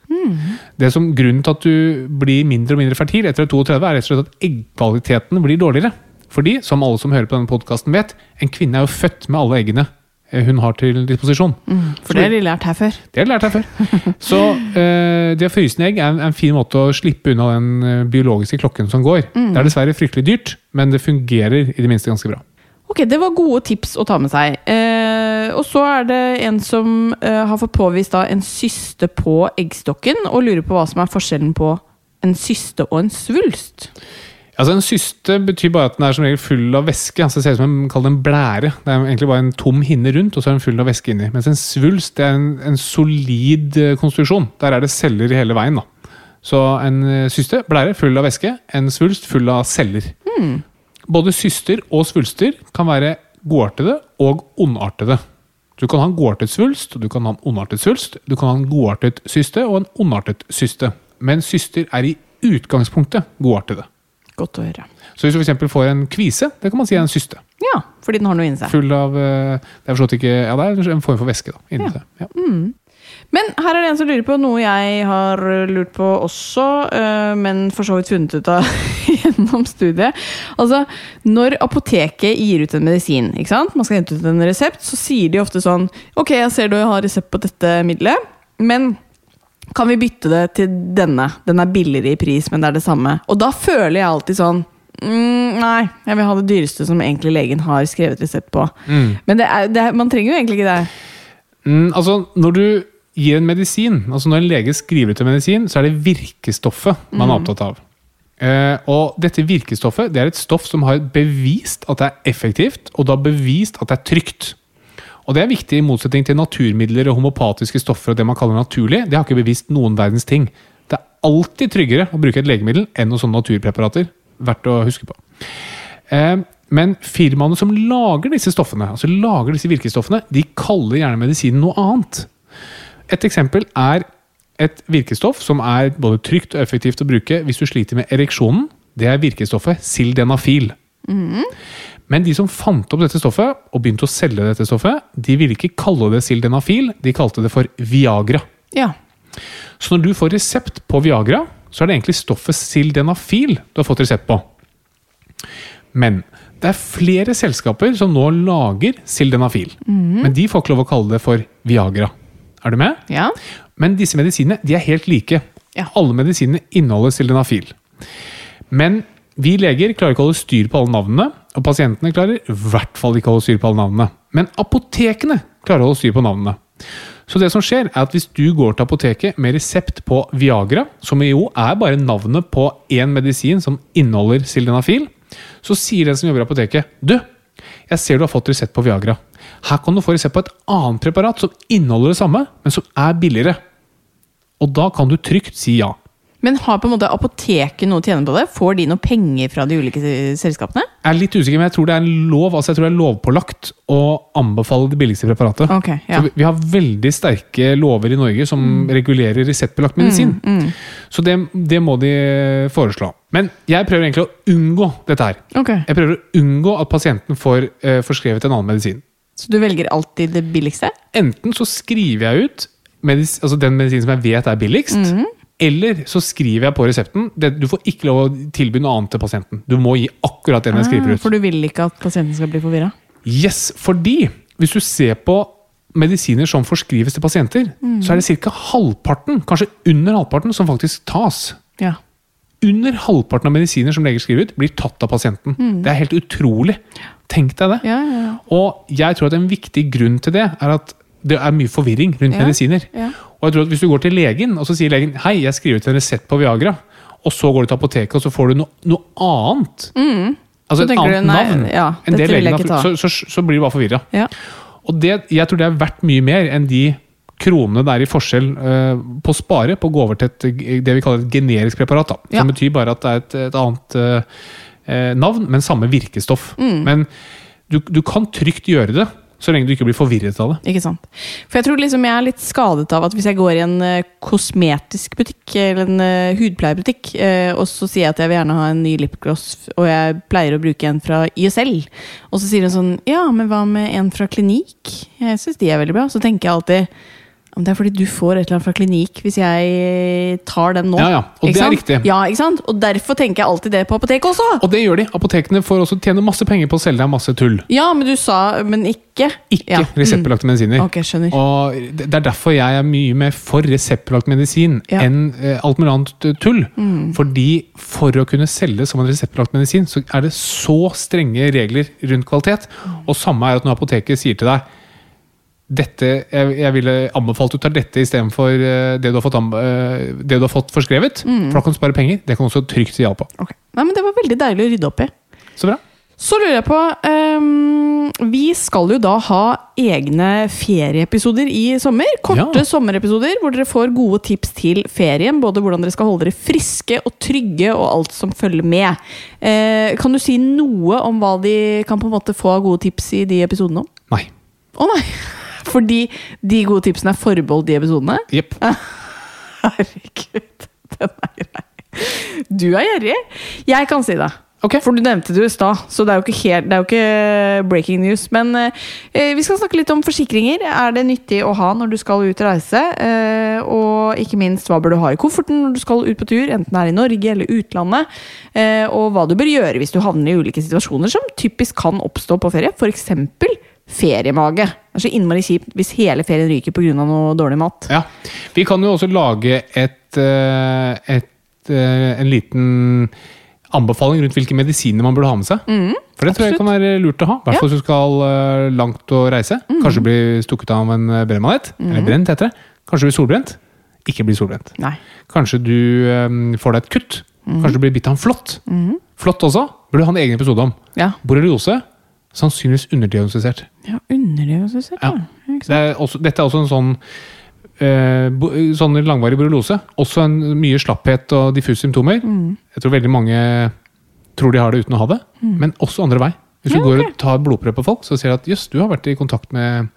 [SPEAKER 3] Det som Grunnen til at du blir mindre og mindre fertil etter 32, er rett og slett at eggkvaliteten blir dårligere. Fordi, som alle som hører på denne podkasten vet, en kvinne er jo født med alle eggene eh, hun har til disposisjon.
[SPEAKER 2] For det har de lært her før.
[SPEAKER 3] Det har jeg lært her før. Så eh, det å fryse ned egg er en, en fin måte å slippe unna den eh, biologiske klokken som går. Det er dessverre fryktelig dyrt, men det fungerer i det minste ganske bra.
[SPEAKER 2] Ok, Det var gode tips å ta med seg. Eh, og så er det en som eh, har fått påvist da, en syste på eggstokken, og lurer på hva som er forskjellen på en syste og en svulst.
[SPEAKER 3] Altså En syste betyr bare at den er som regel full av væske. altså Det ser ut som en, kall det en blære. Det er egentlig bare en tom hinne rundt, og så er den full av væske inni. Mens en svulst det er en, en solid eh, konstruksjon. Der er det celler i hele veien. da. Så en eh, syste, blære, full av væske. En svulst full av celler. Både syster og svulster kan være godartede og ondartede. Du kan ha en godartet svulst, du kan ha en ondartet svulst, du kan ha en godartet syste og en ondartet syste. Men syster er i utgangspunktet godartede.
[SPEAKER 2] Godt å høre.
[SPEAKER 3] Så hvis du for eksempel får en kvise, det kan man si er en syste.
[SPEAKER 2] Ja, fordi den har noe inni seg.
[SPEAKER 3] Full av eh, Det er forstått ikke Ja, det er en form for væske, da. Inni seg. Ja.
[SPEAKER 2] Men her er det en som lurer på noe jeg har eh, lurt på også, eh, men for så vidt funnet ut av *laughs* gjennom studiet. Altså, Når apoteket gir ut en medisin, ikke sant? man skal hente ut en resept, så sier de ofte sånn Ok, jeg ser du har resept på dette middelet, men kan vi bytte det til denne? Den er billigere i pris, men det er det samme. Og da føler jeg alltid sånn Mm, nei, jeg vil ha det dyreste som egentlig legen har skrevet resept på. Men det er, det er, man trenger jo egentlig ikke det.
[SPEAKER 3] Mm, altså, når du gir en medisin, altså når en lege skriver ut en medisin, så er det virkestoffet man er opptatt av. Eh, og dette virkestoffet det er et stoff som har bevist at det er effektivt, og det har bevist at det er trygt. Og det er viktig i motsetning til naturmidler og homopatiske stoffer og det man kaller naturlig. Det har ikke bevist noen verdens ting. Det er alltid tryggere å bruke et legemiddel enn noen sånne naturpreparater. Verdt å huske på. Eh, Men firmaene som lager disse stoffene, altså lager disse virkestoffene, de kaller gjerne medisinen noe annet. Et eksempel er et virkestoff som er både trygt og effektivt å bruke hvis du sliter med ereksjonen, det er virkestoffet sildenafil. Men de som fant opp dette stoffet og begynte å selge dette stoffet, de ville ikke kalle det sildenafil, de kalte det for Viagra.
[SPEAKER 2] Ja.
[SPEAKER 3] Så når du får resept på Viagra, så er det egentlig stoffet sildenafil du har fått resept på. Men det er flere selskaper som nå lager sildenafil. Men de får ikke lov å kalle det for Viagra. Er du med?
[SPEAKER 2] Mhm. Ja.
[SPEAKER 3] Men disse medisinene de er helt like.
[SPEAKER 2] Ja.
[SPEAKER 3] Alle medisinene inneholder sildenafil. Men vi leger klarer ikke å holde styr på alle navnene, og pasientene klarer i hvert fall ikke å holde styr på alle navnene. Men apotekene klarer å holde styr på navnene. Så det som skjer er at hvis du går til apoteket med resept på Viagra, som jo er bare navnet på én medisin som inneholder sildenafil, så sier den som jobber i apoteket Du, jeg ser du har fått resept på Viagra. Her kan du få resept på et annet preparat som inneholder det samme, men som er billigere. Og da kan du trygt si ja.
[SPEAKER 2] Men har på en måte apoteket noe å tjene på det? Får de noe penger fra de ulike eh, selskapene?
[SPEAKER 3] Jeg er litt usikker, men jeg tror det er en lov, altså jeg tror det er lovpålagt å anbefale det billigste preparatet.
[SPEAKER 2] Ok, ja. Mm.
[SPEAKER 3] Så vi, vi har veldig sterke lover i Norge som regulerer reseptbelagt medisin. Så det, det må de foreslå. Men jeg prøver egentlig å unngå dette her.
[SPEAKER 2] Ok.
[SPEAKER 3] Jeg prøver å unngå at pasienten får eh, forskrevet en annen medisin.
[SPEAKER 2] Så du velger alltid det billigste?
[SPEAKER 3] Enten så skriver jeg ut medis, altså den medisinen som jeg vet er billigst,
[SPEAKER 2] Mm.
[SPEAKER 3] eller så skriver jeg på resepten det, Du får ikke lov å tilby noe annet til pasienten. Du må gi akkurat den jeg skriver ut.
[SPEAKER 2] Ah, For du vil ikke at pasienten skal bli forvirra?
[SPEAKER 3] Yes, fordi hvis du ser på medisiner som forskrives til pasienter, så er det ca. halvparten, kanskje under halvparten, som faktisk tas.
[SPEAKER 2] Ja.
[SPEAKER 3] Under halvparten av medisiner som leger skriver ut, blir tatt av pasienten. Det er helt utrolig. Tenk deg det.
[SPEAKER 2] Mm. Ja, ja, ja.
[SPEAKER 3] Og jeg tror at en viktig grunn til det er at det er mye forvirring rundt
[SPEAKER 2] Ja,
[SPEAKER 3] medisiner.
[SPEAKER 2] ja.
[SPEAKER 3] Og jeg tror at Hvis du går til legen og så sier legen hei, jeg skriver ut en resept på Viagra, og så går du til apoteket og så får du noe, noe annet Altså
[SPEAKER 2] Mm. Så
[SPEAKER 3] et
[SPEAKER 2] tenker
[SPEAKER 3] annet
[SPEAKER 2] du, nei,
[SPEAKER 3] navn
[SPEAKER 2] ja,
[SPEAKER 3] enn det
[SPEAKER 2] dette vil
[SPEAKER 3] legen
[SPEAKER 2] jeg
[SPEAKER 3] har
[SPEAKER 2] ikke ta.
[SPEAKER 3] så, så, så blir du bare forvirra.
[SPEAKER 2] Ja.
[SPEAKER 3] Og det, jeg tror det er verdt mye mer enn de kronene det er i forskjell eh, på å spare på å gå over til et, eh, det vi kaller et generisk preparat. Da,
[SPEAKER 2] Ja.
[SPEAKER 3] Som betyr bare at det er et, et annet eh, eh, navn, men samme virkestoff.
[SPEAKER 2] Mm.
[SPEAKER 3] Men du, du kan trygt gjøre det, så lenge du ikke blir forvirret av det.
[SPEAKER 2] Ikke sant. For jeg tror liksom jeg er litt skadet av at hvis jeg går i en eh, kosmetisk butikk, eller en eh, hudpleiebutikk, eh, og så sier jeg at jeg vil gjerne ha en ny lipgloss, og jeg pleier å bruke en fra YSL, og så sier hun sånn Ja, men hva med en fra klinikk? Jeg syns de er veldig bra. Så tenker jeg alltid «Ja, men det er fordi du får et eller annet fra klinikk hvis jeg eh, tar den nå.
[SPEAKER 3] Ja, ja. Og
[SPEAKER 2] Ikke
[SPEAKER 3] det er
[SPEAKER 2] sant?
[SPEAKER 3] riktig.
[SPEAKER 2] Ja, ikke sant? Og derfor tenker jeg alltid det på apoteket også.
[SPEAKER 3] Og det gjør de. Apotekene får også tjene masse penger på å selge deg masse tull.
[SPEAKER 2] Ja, men du sa Men ikke.
[SPEAKER 3] Ikke
[SPEAKER 2] ja. Mm.
[SPEAKER 3] reseptbelagte medisiner.
[SPEAKER 2] Ok, skjønner.
[SPEAKER 3] Og det det er derfor jeg er mye mer for reseptbelagt medisin
[SPEAKER 2] Ja.
[SPEAKER 3] enn eh, alt mulig annet tull. Fordi for å kunne selge som en reseptbelagt medisin, så er det så strenge regler rundt kvalitet. Og samme er at når apoteket sier til deg dette, jeg, jeg ville anbefalt du tar dette istedenfor uh, det, du har fått anbe- eh, det du har fått forskrevet. For da kan du spare penger. Det kan du også trygt si ja på.
[SPEAKER 2] Ok. Nei, men det var veldig deilig å rydde opp i.
[SPEAKER 3] Så bra.
[SPEAKER 2] Så lurer jeg på ehm, Vi skal jo da ha egne ferieepisoder i sommer. Korte
[SPEAKER 3] Ja.
[SPEAKER 2] sommerepisoder hvor dere får gode tips til ferien. Både hvordan dere skal holde dere friske og trygge og alt som følger med. Eh, kan du si noe om hva de kan på en måte få av gode tips i de episodene om?
[SPEAKER 3] Nei.
[SPEAKER 2] Å nei! *laughs* Fordi de gode tipsene er forbeholdt de episodene?
[SPEAKER 3] Jepp.
[SPEAKER 2] Herregud, *laughs* den er grei. Du er gjerrig. Jeg kan si det.
[SPEAKER 3] Ok.
[SPEAKER 2] For du nevnte det jo i stad, så det er jo ikke, helt, det er jo ikke breaking news. Men eh, vi skal snakke litt om forsikringer. Er det nyttig å ha når du skal ut og reise? Eh, og ikke minst hva bør du ha i kofferten når du skal ut på tur, enten det er i Norge eller utlandet? Eh, og hva du bør gjøre hvis du havner i ulike situasjoner som typisk kan oppstå på ferie. F.eks. feriemage. Det er så innmari kjipt hvis hele ferien ryker pga. noe dårlig mat.
[SPEAKER 3] Ja. Vi kan jo også lage et, eh, et, eh, en liten anbefaling rundt hvilke medisiner man burde ha med seg. For det tror jeg kan være lurt å ha. I hvert fall hvis du skal eh, langt å reise. Kanskje bli stukket av en eh, brennmanet. Eller brent, heter det. Kanskje bli solbrent. Ikke bli solbrent.
[SPEAKER 2] Nei.
[SPEAKER 3] Kanskje du eh, får deg et kutt. Kanskje du blir bitt av en flått. Flått også. Burde du ha en egen episode om.
[SPEAKER 2] Ja.
[SPEAKER 3] Borreliose. Sannsynligvis underdiagnostisert.
[SPEAKER 2] Ja, underdiagnostisert,
[SPEAKER 3] Ja.
[SPEAKER 2] ja. ja. ikke sant?
[SPEAKER 3] Det er også, dette er også en sånn eh, bo- sånn langvarig borreliose. Også en, mye slapphet
[SPEAKER 2] Mm.
[SPEAKER 3] og
[SPEAKER 2] Mm.
[SPEAKER 3] diffuse symptomer. Jeg tror veldig mange tror de har det uten å ha det, men også andre vei. Hvis du går og tar blodprøve på folk, så ser du at jøss, du har vært i kontakt med,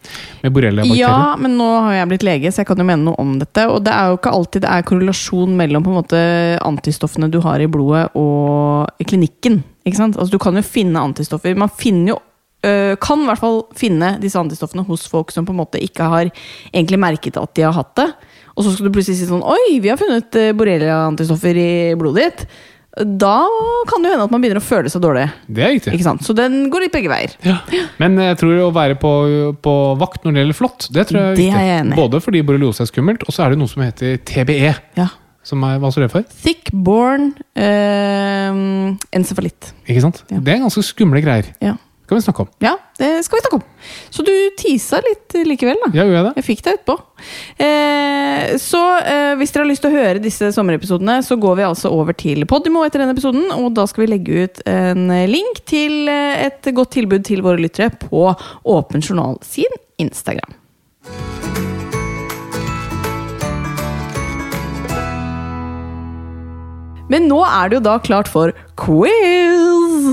[SPEAKER 3] med borrelia-bakterier.
[SPEAKER 2] Ja, men nå har jeg blitt lege, så jeg kan jo mene noe om dette. Og det er jo ikke alltid det er korrelasjon mellom på en måte, antistoffene du har i blodet og i klinikken. Ikke sant? Altså, du kan jo finne antistoffer. Man finner jo øh, kan i hvert fall finne disse antistoffene hos folk som på en måte ikke har egentlig merket at de har hatt det. Og så skal du plutselig si sånn Oi, vi har funnet øh, borrelia-antistoffer i blodet ditt. Da kan det jo hende at man begynner å føle seg dårlig.
[SPEAKER 3] Det er riktig.
[SPEAKER 2] Ikke sant? Så den går litt begge veier.
[SPEAKER 3] Ja. Men jeg tror å være på, på vakt når det gjelder flått, det tror jeg er
[SPEAKER 2] Det er
[SPEAKER 3] viktig.
[SPEAKER 2] jeg enig i.
[SPEAKER 3] Både fordi borreliose er skummelt, og så er det noe som heter TBE.
[SPEAKER 2] Ja.
[SPEAKER 3] Som er, hva står det for?
[SPEAKER 2] Thick born ehm, encefalitt.
[SPEAKER 3] Ikke sant?
[SPEAKER 2] Ja.
[SPEAKER 3] Det er ganske skumle greier.
[SPEAKER 2] Ja.
[SPEAKER 3] Kan vi snakke om.
[SPEAKER 2] ja, det skal vi snakke om. Så du tisa litt eh, likevel, da.
[SPEAKER 3] Ja, gjør jeg det?
[SPEAKER 2] Jeg fikk deg utpå. Eh, så eh, hvis dere har lyst til å høre disse sommerepisodene, så går vi altså over til Podimo etter denne episoden, og da skal vi legge ut en eh, link til eh, et godt tilbud til våre lyttere på Åpen journal sin Instagram. Men nå er det jo da klart for quiz!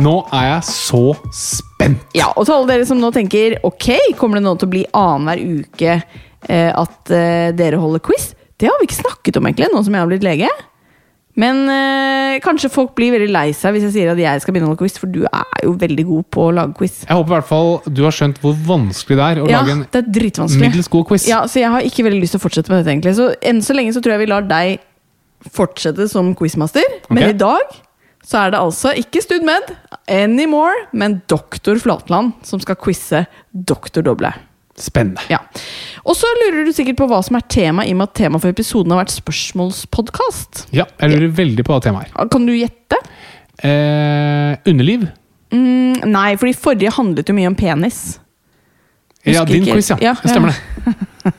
[SPEAKER 3] Nå er jeg så spent!
[SPEAKER 2] Ja, og til alle dere som nå tenker Ok, kommer det nå til å bli annenhver uke eh, At eh, dere holder quiz? Det har vi ikke snakket om egentlig Nå som jeg har blitt lege Men eh, kanskje folk blir veldig lei seg Hvis jeg sier at jeg skal begynne å holde quiz For du er jo veldig god på å lage quiz
[SPEAKER 3] Jeg håper i hvert fall du har skjønt hvor vanskelig det er å
[SPEAKER 2] Ja,
[SPEAKER 3] lage en
[SPEAKER 2] det er dritvanskelig
[SPEAKER 3] middels god quiz.
[SPEAKER 2] Ja, så jeg har ikke veldig lyst til å fortsette med dette egentlig Så enn så lenge så tror jeg vi lar deg fortsette som quizmaster Men
[SPEAKER 3] Ok.
[SPEAKER 2] i dag så er det altså ikke studmed Anymore, men Dr. Flatland Som skal quizze Dr. Doble
[SPEAKER 3] Spennende.
[SPEAKER 2] Ja. Og så lurer du sikkert på hva som er tema, i og med at tema for episoden har vært spørsmålspodkast.
[SPEAKER 3] Ja, jeg lurer veldig på hva temaet er.
[SPEAKER 2] Kan du gjette?
[SPEAKER 3] Eh, underliv.
[SPEAKER 2] Mm, Nei, fordi forrige handlet jo mye om penis.
[SPEAKER 3] Ja,
[SPEAKER 2] Husker
[SPEAKER 3] din
[SPEAKER 2] ikke.
[SPEAKER 3] quiz, ja.
[SPEAKER 2] Ja,
[SPEAKER 3] Det Stemmer det.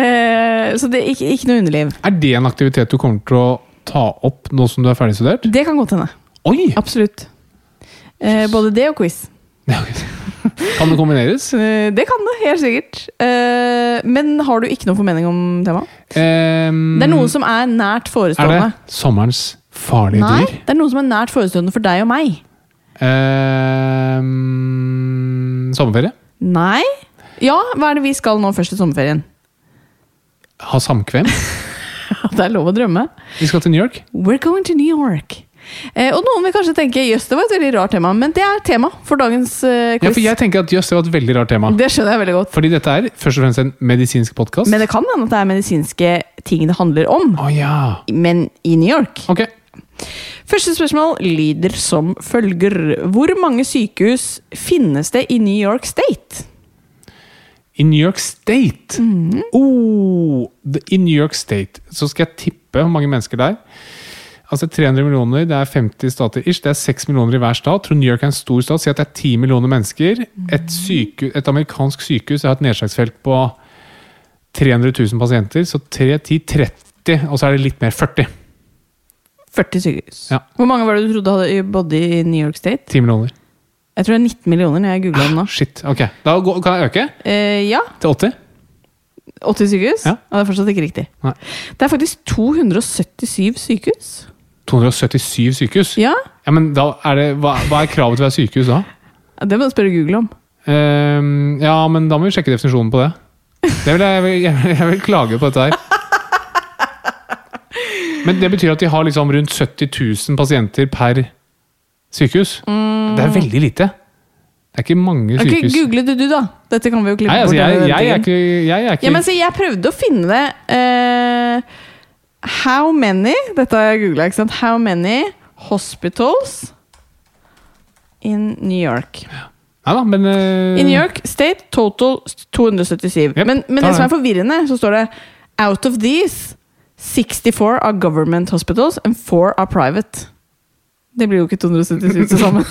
[SPEAKER 2] Eh, så det er ikke, ikke noe underliv.
[SPEAKER 3] Er det en aktivitet du kommer til å ta opp nå som du er ferdigstudert?
[SPEAKER 2] Det kan godt hende.
[SPEAKER 3] Oi!
[SPEAKER 2] Absolutt. Eh, både det og quiz.
[SPEAKER 3] Kan det kombineres?
[SPEAKER 2] Eh, det kan det, helt sikkert. Eh, men har du ikke noen formening om temaet?
[SPEAKER 3] Ehm,
[SPEAKER 2] Det er noe som er nært
[SPEAKER 3] er det
[SPEAKER 2] forestående.
[SPEAKER 3] sommerens farlige
[SPEAKER 2] Nei,
[SPEAKER 3] dyr?
[SPEAKER 2] det er noe som er nært forestående for deg og meg.
[SPEAKER 3] Ehm, sommerferie?
[SPEAKER 2] Nei? Ja, hva er det vi skal nå først i sommerferien? *laughs*
[SPEAKER 3] Ha samkvem?
[SPEAKER 2] Det er lov å drømme.
[SPEAKER 3] Vi skal til New York.
[SPEAKER 2] We're going to New York. Eh, og noen vil kanskje tenke jøss, det var et veldig rart tema, men det er tema for dagens eh,
[SPEAKER 3] Ja,
[SPEAKER 2] quiz.
[SPEAKER 3] for jeg tenker at jøss, det var et veldig rart tema.
[SPEAKER 2] Det skjønner jeg veldig godt.
[SPEAKER 3] Fordi dette er først og fremst en medisinsk podkast.
[SPEAKER 2] Men det kan hende at det er medisinske ting det handler om.
[SPEAKER 3] Å ja.
[SPEAKER 2] Men i New York.
[SPEAKER 3] Ok.
[SPEAKER 2] Første spørsmål lyder som følger. Hvor mange sykehus finnes det i New York State?
[SPEAKER 3] I New York State oh, det- I New York State så skal jeg tippe hvor mange mennesker det er. Altså 300 millioner, det er 50 stater ish. Det er 6 millioner i hver stat. Tror New York er en stor stat. Si at det er 10 millioner mennesker. Et, syke, et amerikansk sykehus har et nedslagsfelt på 300 000 pasienter. Så 3, 10, 30, og så er det litt mer 40.
[SPEAKER 2] 40 sykehus.
[SPEAKER 3] Ja.
[SPEAKER 2] Hvor mange var det du trodde hadde bodde i New York State?
[SPEAKER 3] 10 millioner.
[SPEAKER 2] Jeg tror det er 19 millioner når jeg googla den nå.
[SPEAKER 3] Shit. Ok. Da går, kan jeg øke
[SPEAKER 2] Eh, ja,
[SPEAKER 3] til 80.
[SPEAKER 2] 80 sykehus?
[SPEAKER 3] Ja.
[SPEAKER 2] Og det er fortsatt ikke riktig.
[SPEAKER 3] Nei.
[SPEAKER 2] Det er faktisk 277 sykehus.
[SPEAKER 3] 277 sykehus.
[SPEAKER 2] Ja,
[SPEAKER 3] Ja, men da er det, hva, hva er kravet til å være sykehus da?
[SPEAKER 2] Det må du spørre Google om.
[SPEAKER 3] Ehm, ja, men da må vi sjekke definisjonen på det. det vil jeg, jeg, vil, jeg vil klage på dette her. Men det betyr at de har liksom rundt 70 000 pasienter per sykehus. Det er veldig lite. Det er ikke mange
[SPEAKER 2] Mm. Ok,
[SPEAKER 3] sykehus.
[SPEAKER 2] Googlet du, da? Dette kan vi jo klippe
[SPEAKER 3] Nei, altså,
[SPEAKER 2] bort.
[SPEAKER 3] jeg,
[SPEAKER 2] denne
[SPEAKER 3] jeg er
[SPEAKER 2] ventingen.
[SPEAKER 3] ikke, jeg er ikke
[SPEAKER 2] ja, men, se, jeg prøvde å finne det. eh, how many Dette har jeg googla, ikke sant? How many hospitals in New York?
[SPEAKER 3] Neida, men eh,
[SPEAKER 2] In New York State total 277.
[SPEAKER 3] Jep,
[SPEAKER 2] men men
[SPEAKER 3] tar
[SPEAKER 2] det som er
[SPEAKER 3] det.
[SPEAKER 2] forvirrende, så står det Out of these, 64 are government hospitals and 4 are private. Det blir jo ikke 277 til sammen.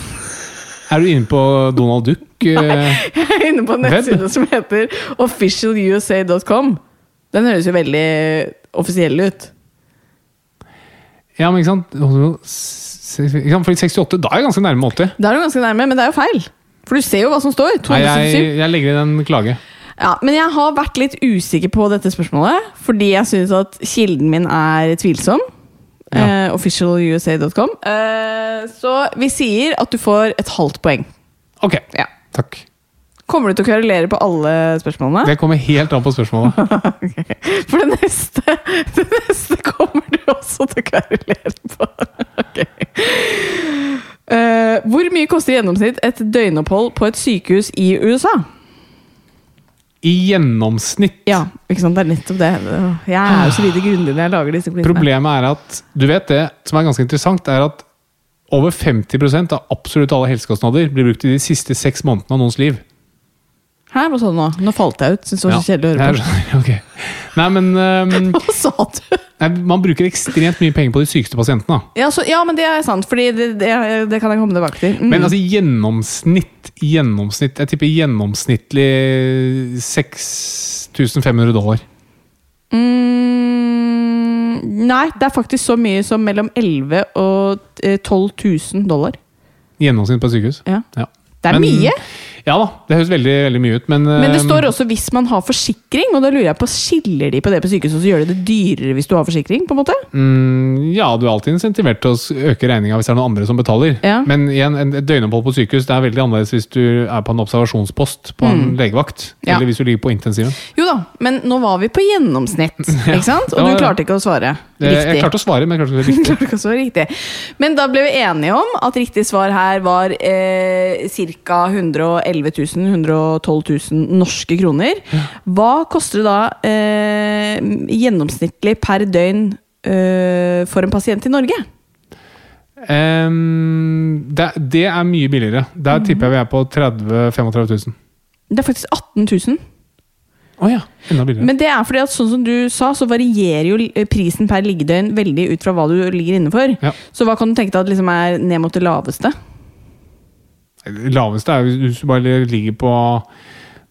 [SPEAKER 3] Er du inne på Donald
[SPEAKER 2] *laughs*
[SPEAKER 3] Duck? Eh,
[SPEAKER 2] Jeg er inne på en
[SPEAKER 3] Web?
[SPEAKER 2] nettside som heter officialusa.com. Den høres jo veldig offisiell ut.
[SPEAKER 3] ja, men ikke sant? Ikke sant? Fordi 68, da er jeg ganske nærme 80.
[SPEAKER 2] Da er du ganske nærme, men det er jo feil. For du ser jo hva som står.
[SPEAKER 3] Nei, jeg,
[SPEAKER 2] 277.
[SPEAKER 3] jeg legger inn en klage.
[SPEAKER 2] Ja, men jeg har vært litt usikker på dette spørsmålet, fordi jeg syns at kilden min er tvilsom. eh, officialusa.com. Eh, så vi sier at du får et halvt poeng.
[SPEAKER 3] Ok,
[SPEAKER 2] Ja.
[SPEAKER 3] takk.
[SPEAKER 2] Kommer du til å kverulere på alle spørsmålene? *laughs*
[SPEAKER 3] Det kommer helt an på spørsmålet.
[SPEAKER 2] For det neste, *laughs* det neste kommer du også til å kverulere på. *laughs* Ok. Eh, hvor mye koster i gjennomsnitt et døgnopphold på et sykehus i USA?
[SPEAKER 3] I gjennomsnitt.
[SPEAKER 2] Ja, ikke sant? det er nettopp det. Jeg er jo så lite grundig når jeg lager disse quizene.
[SPEAKER 3] Problemet er at Du vet det som er ganske interessant, er at over 50 av absolutt alle helsekostnader blir brukt i de siste seks månedene av noens liv.
[SPEAKER 2] Hæ, hva sa du nå? Nå falt jeg ut. Syns det var så
[SPEAKER 3] Ja,
[SPEAKER 2] kjedelig å høre
[SPEAKER 3] jeg *laughs* skjønner, ok. Nei,
[SPEAKER 2] *laughs* på.
[SPEAKER 3] men um,
[SPEAKER 2] *laughs* Hva sa du?
[SPEAKER 3] nei, Man bruker ekstremt mye penger på de sykeste pasientene. da.
[SPEAKER 2] Ja, så, ja, men det er sant, Fordi det, det, det kan jeg komme tilbake til. Mm.
[SPEAKER 3] Men altså i gjennomsnitt, i gjennomsnitt Jeg tipper gjennomsnittlig 6500 dollar.
[SPEAKER 2] mm, nei, det er faktisk så mye som mellom 11 og eh, 12 000 dollar.
[SPEAKER 3] I Gjennomsnitt på et sykehus.
[SPEAKER 2] Ja.
[SPEAKER 3] Ja.
[SPEAKER 2] Det er
[SPEAKER 3] Men-
[SPEAKER 2] mye.
[SPEAKER 3] Ja da, det høres veldig, veldig mye ut, men
[SPEAKER 2] Men det
[SPEAKER 3] um,
[SPEAKER 2] står også hvis man har forsikring, og da lurer jeg på, skiller de på det på sykehuset, og så gjør de det dyrere hvis du har forsikring? på en måte?
[SPEAKER 3] Mm, ja, du er alltid insentivert til å s- øke regninga hvis det er noen andre som betaler.
[SPEAKER 2] Ja.
[SPEAKER 3] Men igjen, en- et døgnopphold på sykehus det er veldig annerledes hvis du er på en observasjonspost på en legevakt.
[SPEAKER 2] Mm. Ja.
[SPEAKER 3] Eller hvis du ligger på intensiven.
[SPEAKER 2] Jo da, men nå var vi på gjennomsnitt, ikke sant? Og
[SPEAKER 3] *laughs* Ja, ja.
[SPEAKER 2] du klarte ikke å svare
[SPEAKER 3] Eh, Jeg
[SPEAKER 2] riktig.
[SPEAKER 3] klarte å svare, men jeg klarte ikke
[SPEAKER 2] *laughs*
[SPEAKER 3] å svare riktig.
[SPEAKER 2] Klarte ikke å svare riktig. Men da ble vi enige om at riktig svar her var eh, ca. 111 000-112 000 norske kroner. Hva koster det da eh, gjennomsnittlig per døgn eh, for en pasient i Norge?
[SPEAKER 3] Em, det, det er mye billigere. Der
[SPEAKER 2] Mm.
[SPEAKER 3] tipper jeg vi er på 30 000-35 000.
[SPEAKER 2] Det er faktisk 18 000.
[SPEAKER 3] Å ja, enda billigere.
[SPEAKER 2] Men det er fordi at sånn som du sa, så varierer jo li- prisen per liggedøgn veldig ut fra hva du ligger innenfor.
[SPEAKER 3] Ja.
[SPEAKER 2] Så hva kan du tenke deg at liksom er ned mot det laveste?
[SPEAKER 3] Eh, Det laveste er jo hvis du bare ligger på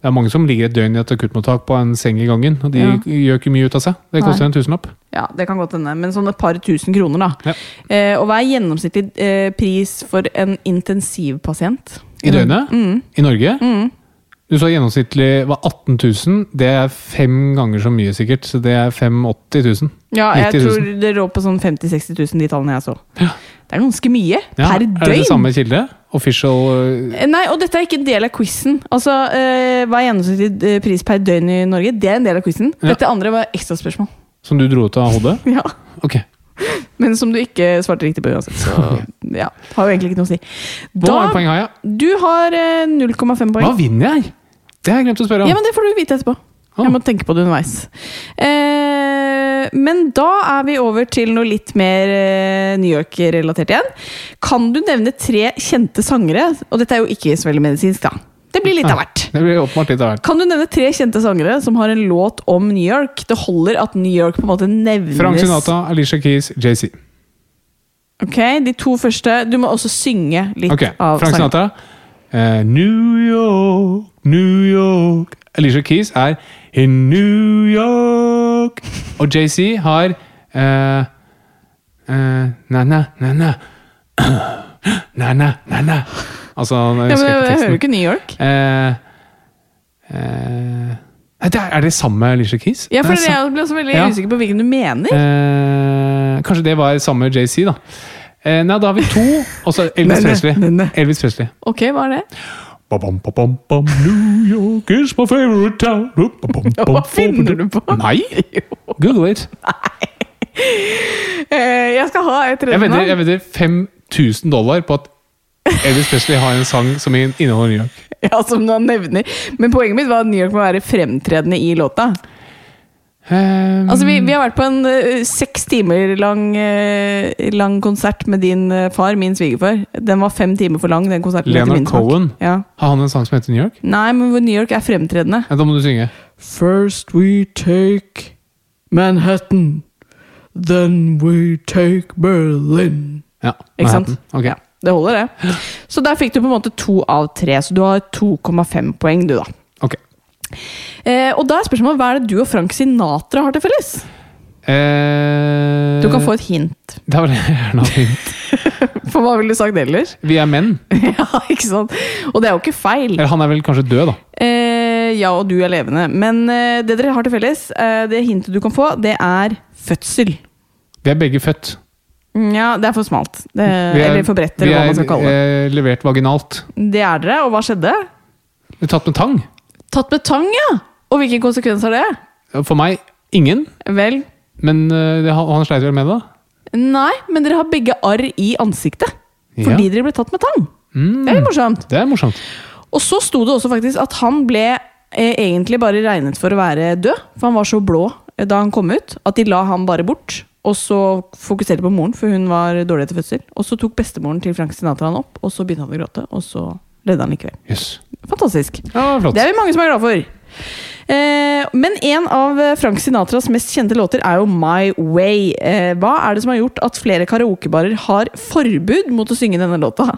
[SPEAKER 3] Det er mange som ligger et døgn i et akuttmottak på en seng i gangen, og de
[SPEAKER 2] Ja.
[SPEAKER 3] gjør ikke mye ut av seg. Det
[SPEAKER 2] Nei.
[SPEAKER 3] koster en tusenlapp.
[SPEAKER 2] Ja, det kan godt hende, men sånn et par tusen kroner, da.
[SPEAKER 3] Ja.
[SPEAKER 2] Eh, og hva er gjennomsnittlig eh, pris for en intensivpasient?
[SPEAKER 3] I døgnet?
[SPEAKER 2] Mm,
[SPEAKER 3] I Norge? Du sa gjennomsnittlig var 18 000. Det er fem ganger så mye, sikkert. Så det er 85 000.
[SPEAKER 2] Ja, jeg
[SPEAKER 3] 90 000.
[SPEAKER 2] tror det lå på sånn 50 000-60 000, de tallene jeg så. Det er ganske mye
[SPEAKER 3] Ja,
[SPEAKER 2] per døgn!
[SPEAKER 3] Er det samme kilde? Official øh,
[SPEAKER 2] Eh, Nei, og dette er ikke en del av quizen. Altså, eh, hva er gjennomsnittlig eh, pris per døgn i Norge? Det er en del av quizen.
[SPEAKER 3] Ja.
[SPEAKER 2] Dette andre var ekstraspørsmål.
[SPEAKER 3] som du dro ut av hodet?
[SPEAKER 2] *laughs* Ja.
[SPEAKER 3] Ok.
[SPEAKER 2] Men som du ikke svarte riktig på uansett. Så
[SPEAKER 3] *laughs*
[SPEAKER 2] ja, har jo egentlig ikke noe å si.
[SPEAKER 3] Hvor mange poeng har jeg?
[SPEAKER 2] Du har eh, 0,5 poeng.
[SPEAKER 3] Hva vinner jeg? Det har jeg glemt å spørre om.
[SPEAKER 2] Ja, men Det får du vite etterpå.
[SPEAKER 3] Ah.
[SPEAKER 2] Jeg må tenke på det underveis. Eh, men da er vi over til noe litt mer eh, New York-relatert igjen. Kan du nevne tre kjente sangere? Og dette er jo ikke så veldig medisinsk, da. Det blir litt av hvert.
[SPEAKER 3] Det blir åpenbart litt av hvert.
[SPEAKER 2] Kan du nevne tre kjente sangere som har en låt om New York? Det holder at New York på en måte nevnes.
[SPEAKER 3] Frank Sinatra, Alicia Keys, JC.
[SPEAKER 2] Ok, De to første. Du må også synge litt
[SPEAKER 3] Ok,
[SPEAKER 2] av
[SPEAKER 3] Frank
[SPEAKER 2] sangen.
[SPEAKER 3] Sinatra. Eh, New York, New York Alicia Keys er In New York. Og JC har eh, eh, Na-na, *clears throat* na-na. Na-na, na-na. Altså, jeg
[SPEAKER 2] Ja, men
[SPEAKER 3] husker
[SPEAKER 2] jeg, jeg
[SPEAKER 3] ikke
[SPEAKER 2] hører jo
[SPEAKER 3] teksten.
[SPEAKER 2] ikke New York.
[SPEAKER 3] Eh, eh, nei, det er, er det samme Alicia Keys?
[SPEAKER 2] Ja, for
[SPEAKER 3] Det er sam-
[SPEAKER 2] Jeg ble også veldig
[SPEAKER 3] Ja.
[SPEAKER 2] usikker på hvilken du mener.
[SPEAKER 3] Eh, kanskje det var samme JC, da. Eh, nei, da har vi to. Og så
[SPEAKER 2] *laughs*
[SPEAKER 3] Elvis
[SPEAKER 2] Nei, nei,
[SPEAKER 3] Presley.
[SPEAKER 2] nei, nei.
[SPEAKER 3] Elvis Presley.
[SPEAKER 2] Ok, hva er det?
[SPEAKER 3] Ba-bam, ba-bam, bam. New York is my favorite town. Ba-bam,
[SPEAKER 2] Ja, *laughs*
[SPEAKER 3] bam,
[SPEAKER 2] hva finner du på? *laughs*
[SPEAKER 3] Nei! Google it.
[SPEAKER 2] Eh, jeg skal ha et tredje
[SPEAKER 3] Jeg vedder, jeg
[SPEAKER 2] navn.
[SPEAKER 3] vedder 5000 dollar på at Elvis Presley har en sang som inneholder New York.
[SPEAKER 2] Ja, som han nevner. Men poenget mitt var at New York må være fremtredende i låta.
[SPEAKER 3] Ehm,
[SPEAKER 2] Altså, Vi, vi har vært på en eh, seks timer lang, eh, lang konsert med din eh, far, min svigerfar. Den var fem timer for lang, den konserten. etter
[SPEAKER 3] Leonard
[SPEAKER 2] min smak.
[SPEAKER 3] Cohen.
[SPEAKER 2] Ja.
[SPEAKER 3] har han en sang som heter New York?
[SPEAKER 2] Nei, men hvor New York er fremtredende.
[SPEAKER 3] Ja, da må du synge.
[SPEAKER 2] First we take Manhattan, then we take Berlin.
[SPEAKER 3] Ja,
[SPEAKER 2] Ikke sant?
[SPEAKER 3] Manhattan. Ok.
[SPEAKER 2] Ja, det holder, det. Så der fikk du på en måte to av tre, så du har 2,5 poeng, du, da.
[SPEAKER 3] ok.
[SPEAKER 2] Eh, og da er spørsmålet, Hva er det du og Frank Sinatra har til felles?
[SPEAKER 3] Eh,
[SPEAKER 2] Du kan få et hint.
[SPEAKER 3] Det *laughs* var gjerne fint.
[SPEAKER 2] For hva ville du sagt ellers?
[SPEAKER 3] Vi er menn.
[SPEAKER 2] *laughs* ja, ikke sant? Og det er jo ikke feil.
[SPEAKER 3] Eller han er vel kanskje død, da.
[SPEAKER 2] Eh, ja, og du er levende. Men eh, det dere har til felles, eh, det hintet du kan få, det er fødsel. Mm,
[SPEAKER 3] Vi er begge født.
[SPEAKER 2] Ja, det er for smalt. Det,
[SPEAKER 3] Vi er-
[SPEAKER 2] Eh, eller for bredt, eller hva man skal kalle det.
[SPEAKER 3] Vi er eh, levert vaginalt.
[SPEAKER 2] Det er dere, og hva skjedde?
[SPEAKER 3] Vi er Tatt med tang.
[SPEAKER 2] Tatt med tang, ja! Og hvilke konsekvenser har det?
[SPEAKER 3] For meg ingen,
[SPEAKER 2] Vel,
[SPEAKER 3] men eh, det, han sleit vel med det. da.
[SPEAKER 2] nei, men dere har begge arr i ansiktet. Fordi
[SPEAKER 3] Ja.
[SPEAKER 2] dere ble tatt med tang. Det er jo morsomt.
[SPEAKER 3] Det er morsomt.
[SPEAKER 2] Og så sto det også faktisk at han ble eh, egentlig bare regnet for å være død, for han var så blå eh, da han kom ut, at de la ham bare bort. Og så fokuserte de på moren, for hun var dårlig etter fødsel. Og så tok bestemoren til Frank Sinatra han opp, og så begynte han å gråte, og så redde han likevel.
[SPEAKER 3] Jøss.
[SPEAKER 2] Fantastisk.
[SPEAKER 3] Ja, flott.
[SPEAKER 2] Det er vi mange som er glad for. Eh, men en av eh, Frank Sinatras mest kjente låter er jo My Way. Eh, hva er det som har gjort at flere karaokebarer har forbud mot å synge denne låta?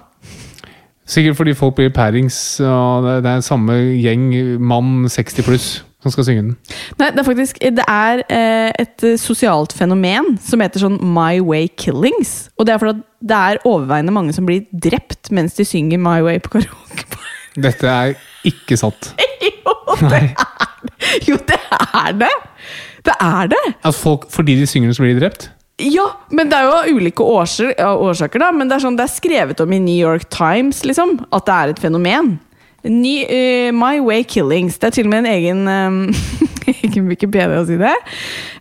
[SPEAKER 3] Sikkert fordi folk blir pærings, og det, det er samme gjeng, mann 60 pluss, som skal synge den.
[SPEAKER 2] Nei, det er faktisk Det er eh, et eh, sosialt fenomen som heter sånn My Way Killings. Og det er fordi at det er overveiende mange som blir drept mens de synger My Way på karaoke. *laughs*
[SPEAKER 3] Dette er ikke sant.
[SPEAKER 2] jo, det er Jo, det er det! Det er det!
[SPEAKER 3] At folk, fordi de synger den, så blir de drept?
[SPEAKER 2] Ja, men det er jo av ulike årsaker, årsaker da. Men det er sånn det er skrevet om i New York Times, liksom. At det er et fenomen. Ny, eh, My Way Killings. Det er til og med en egen eh, *laughs* Egen Wikipedia-side.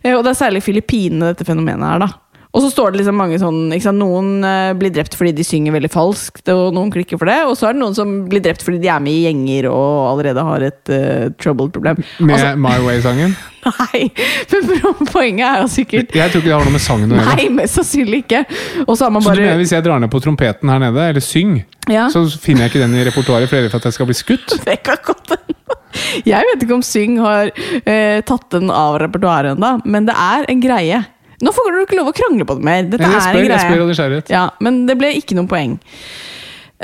[SPEAKER 2] Eh, og det er særlig Filippinene dette fenomenet er, da. Og så står det liksom mange sånn ikke sant? Noen eh, blir drept fordi de synger veldig falskt, og noen klikker for det. Og så er det noen som blir drept fordi de er med i gjenger og allerede har et eh, troubled problem.
[SPEAKER 3] Med
[SPEAKER 2] Altså,
[SPEAKER 3] My
[SPEAKER 2] *laughs*
[SPEAKER 3] Way-sangen?
[SPEAKER 2] nei! Men poenget er jo sikkert
[SPEAKER 3] Jeg tror ikke det har noe med sangen å gjøre.
[SPEAKER 2] Nei, mest sannsynlig ikke. Og så har man
[SPEAKER 3] Så du
[SPEAKER 2] bare
[SPEAKER 3] mener hvis jeg drar ned på trompeten her nede, eller syng,
[SPEAKER 2] Ja.
[SPEAKER 3] så finner jeg ikke den i repertoaret for jeg er redd for at jeg skal bli skutt?
[SPEAKER 2] *laughs* Det kan godt hende. Jeg vet ikke om Syng har eh, tatt den av repertoaret ennå, men det er en greie. Nå får du ikke lov å krangle på det mer. Dette
[SPEAKER 3] Jeg
[SPEAKER 2] er en
[SPEAKER 3] spør,
[SPEAKER 2] greie.
[SPEAKER 3] jeg spør av nysgjerrighet.
[SPEAKER 2] Ja, men det ble ikke noen poeng.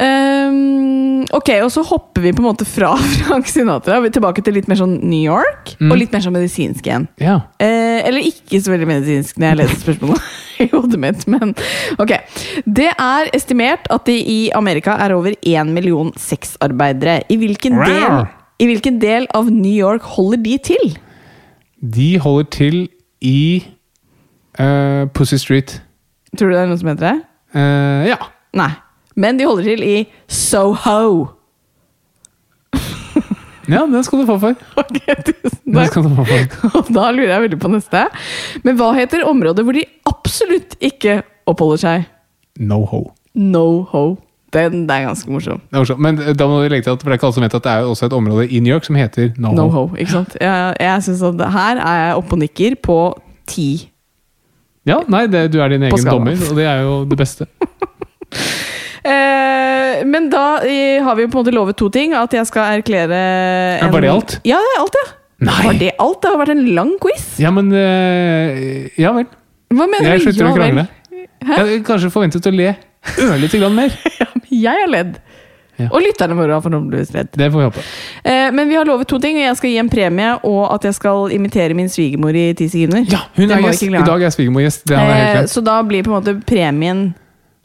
[SPEAKER 2] Ehm, ok, og så hopper vi på en måte fra *laughs* Frank Sinatra Vi er tilbake til litt mer sånn New York,
[SPEAKER 3] Mm.
[SPEAKER 2] og litt mer sånn medisinsk igjen.
[SPEAKER 3] Ja.
[SPEAKER 2] Eh, eller ikke så veldig medisinsk når jeg leser spørsmålet *laughs* i hodet mitt, men ok. Det er estimert at det i Amerika er over én million sexarbeidere. I hvilken, del,
[SPEAKER 3] Wow.
[SPEAKER 2] I hvilken del av New York holder de til?
[SPEAKER 3] De holder til i eh, Pussy Street.
[SPEAKER 2] Tror du det er noe som heter det?
[SPEAKER 3] Eh, ja.
[SPEAKER 2] Nei. Men de holder til i Soho. *laughs*
[SPEAKER 3] ja, den skal du få *laughs* for.
[SPEAKER 2] Ok, tusen
[SPEAKER 3] Den
[SPEAKER 2] takk. *laughs*
[SPEAKER 3] skal du få for.
[SPEAKER 2] Og da lurer jeg veldig på neste. Men hva heter området hvor de absolutt ikke oppholder seg?
[SPEAKER 3] No ho.
[SPEAKER 2] No ho. Den det er ganske morsom.
[SPEAKER 3] Det er morsomt. Men eh, da må vi legge til at for det er ikke alle som vet at det er jo også et område i New York som heter No,
[SPEAKER 2] No
[SPEAKER 3] Ho.
[SPEAKER 2] ho, ikke sant? Jeg, jeg synes at her er jeg oppe og nikker på ti.
[SPEAKER 3] Ja, nei, det, du er din egen
[SPEAKER 2] skala.
[SPEAKER 3] dommer, og det er jo det beste.
[SPEAKER 2] Eh, men da eh, har vi på en måte lovet to ting. At jeg skal erklære
[SPEAKER 3] Er det
[SPEAKER 2] en-
[SPEAKER 3] bare det alt?
[SPEAKER 2] Ja, det er alt, ja.
[SPEAKER 3] Nei.
[SPEAKER 2] *laughs* Var det alt? Det har vært en lang quiz.
[SPEAKER 3] Ja, men eh, Ja vel.
[SPEAKER 2] Hva mener
[SPEAKER 3] Jeg
[SPEAKER 2] du?
[SPEAKER 3] slutter
[SPEAKER 2] Ja,
[SPEAKER 3] å
[SPEAKER 2] vel.
[SPEAKER 3] krangle. Jeg hadde kanskje forventet å le ørlite grann mer.
[SPEAKER 2] Jeg har ledd.
[SPEAKER 3] Ja.
[SPEAKER 2] Og lytterne våre har forhåpentligvis ledd.
[SPEAKER 3] Det får vi håpe.
[SPEAKER 2] Eh, men vi har lovet to ting, og jeg skal gi en premie, og at jeg skal imitere min svigermor i ti sekunder.
[SPEAKER 3] Ja, hun
[SPEAKER 2] Det
[SPEAKER 3] er
[SPEAKER 2] må vi
[SPEAKER 3] gjest.
[SPEAKER 2] ikke
[SPEAKER 3] I
[SPEAKER 2] glemme.
[SPEAKER 3] dag er svigermor gjest. Det er helt
[SPEAKER 2] Eh,
[SPEAKER 3] klart.
[SPEAKER 2] så da blir på en måte premien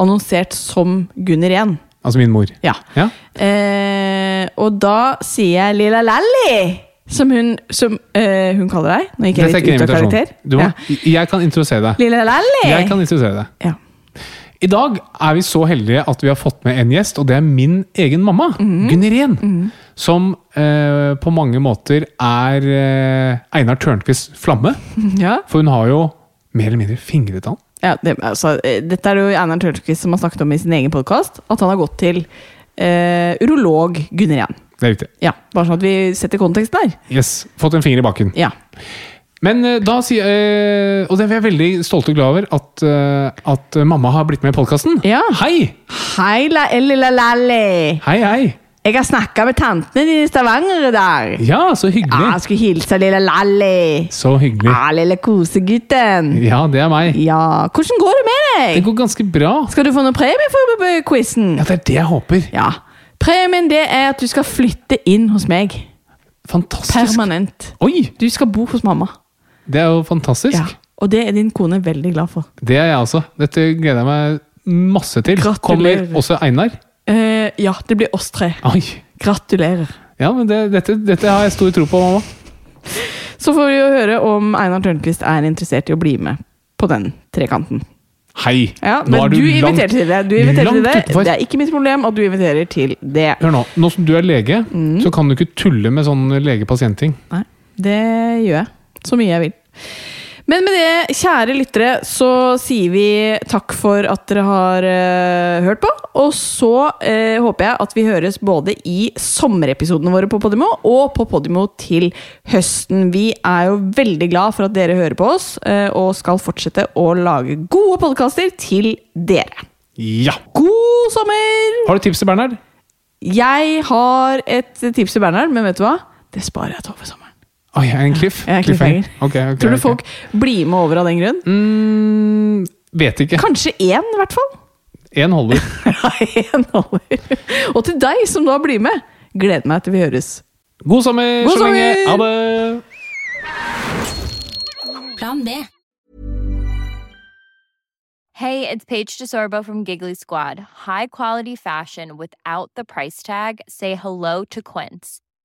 [SPEAKER 2] annonsert som Gunnar 1.
[SPEAKER 3] Altså min mor.
[SPEAKER 2] Ja.
[SPEAKER 3] Ja.
[SPEAKER 2] Eh, og da sier jeg Lilla Lally, som hun, som, eh, hun kaller deg. Nå gikk
[SPEAKER 3] Dette er ikke
[SPEAKER 2] jeg
[SPEAKER 3] en
[SPEAKER 2] litt ut av
[SPEAKER 3] invitasjon.
[SPEAKER 2] karakter.
[SPEAKER 3] Du må,
[SPEAKER 2] Ja.
[SPEAKER 3] Jeg kan introdusere deg.
[SPEAKER 2] Lilla Lally!
[SPEAKER 3] Jeg kan introdusere deg.
[SPEAKER 2] ja. *laughs*
[SPEAKER 3] I dag er vi så heldige at vi har fått med en gjest, og det er min egen mamma,
[SPEAKER 2] Mhm.
[SPEAKER 3] Gunnirén. Som eh, på mange måter er eh, Einar Tørnquists flamme.
[SPEAKER 2] Ja.
[SPEAKER 3] For hun har jo mer eller mindre fingret han.
[SPEAKER 2] Ja, det, altså, eh, dette er det jo Einar Tørnquist som har snakket om i sin egen podkast, at han har gått til eh, urolog Gunnar 1.
[SPEAKER 3] Det er riktig.
[SPEAKER 2] Ja, bare sånn at vi setter konteksten der.
[SPEAKER 3] Yes, Fått en finger i baken.
[SPEAKER 2] Ja.
[SPEAKER 3] Men eh, da sier eh, Og det er jeg veldig stolt og glad over at, eh, at mamma har blitt med i podkasten.
[SPEAKER 2] Ja.
[SPEAKER 3] Hei!
[SPEAKER 2] Hei, la, eh, Lilla Lally!
[SPEAKER 3] Hei, hei!
[SPEAKER 2] Jeg har snakka med tantene dine i Stavanger i dag.
[SPEAKER 3] Ja, så hyggelig.
[SPEAKER 2] Ja, jeg skulle hilse Lilla Lally.
[SPEAKER 3] Så hyggelig.
[SPEAKER 2] Ja, lille kosegutten.
[SPEAKER 3] Ja, det er meg.
[SPEAKER 2] Ja, hvordan går det med
[SPEAKER 3] Det
[SPEAKER 2] deg?
[SPEAKER 3] går ganske bra.
[SPEAKER 2] Skal du få noen premie for b- b- quizen?
[SPEAKER 3] Ja, det er det jeg håper.
[SPEAKER 2] Ja. Premien det er at du skal flytte inn hos meg.
[SPEAKER 3] Fantastisk.
[SPEAKER 2] Permanent.
[SPEAKER 3] Oi!
[SPEAKER 2] Du skal bo hos mamma.
[SPEAKER 3] Det er jo fantastisk.
[SPEAKER 2] Ja. Og det er din kone veldig glad for.
[SPEAKER 3] Det er jeg også. Dette gleder jeg meg masse til.
[SPEAKER 2] Gratulerer.
[SPEAKER 3] Kommer også Einar.
[SPEAKER 2] Eh, ja, det blir oss tre.
[SPEAKER 3] Oi.
[SPEAKER 2] Gratulerer.
[SPEAKER 3] Ja, men det, dette, dette har jeg stor tro på, mamma.
[SPEAKER 2] Så får vi jo høre om Einar Tørnquist er interessert i å bli med på den trekanten.
[SPEAKER 3] Hei!
[SPEAKER 2] Ja,
[SPEAKER 3] nå
[SPEAKER 2] men
[SPEAKER 3] er
[SPEAKER 2] du,
[SPEAKER 3] langt-
[SPEAKER 2] inviterer til det. Du inviterer til
[SPEAKER 3] langt
[SPEAKER 2] det.
[SPEAKER 3] utenfor.
[SPEAKER 2] Det er ikke mitt problem at du inviterer til det.
[SPEAKER 3] Hør nå, nå som du er lege,
[SPEAKER 2] Mm.
[SPEAKER 3] så kan du ikke tulle med sånn lege-pasient-ting.
[SPEAKER 2] Nei, det gjør jeg. Så mye jeg vil. Men med det, kjære lyttere, så sier vi takk for at dere har eh, hørt på. Og så eh, håper jeg at vi høres både i sommerepisodene våre på Podimo og på Podimo til høsten. Vi er jo veldig glad for at dere hører på oss, eh, og skal fortsette å lage gode podkaster til dere.
[SPEAKER 3] Ja!
[SPEAKER 2] God sommer!
[SPEAKER 3] Har du tips til Bernhard?
[SPEAKER 2] Jeg har et tips til Bernhard, men vet du hva? Det sparer jeg til over sommeren.
[SPEAKER 3] Oi, jeg er en cliff?
[SPEAKER 2] Jeg er cliffhanger.
[SPEAKER 3] Ok, ok,
[SPEAKER 2] Tror du
[SPEAKER 3] ok.
[SPEAKER 2] folk blir med over av den grunn?
[SPEAKER 3] mm, Vet ikke.
[SPEAKER 2] Kanskje én, i hvert fall. *laughs*
[SPEAKER 3] Én holder.
[SPEAKER 2] Én holder. Og til deg som da blir med, gleder meg til vi høres.
[SPEAKER 3] God sommer
[SPEAKER 2] God
[SPEAKER 3] så lenge!
[SPEAKER 2] sommer!
[SPEAKER 3] Ha det!
[SPEAKER 5] Plan B.
[SPEAKER 6] Hey, it's Paige DeSorbo from Giggly Squad. High quality fashion without the price tag. Say hello to Quince.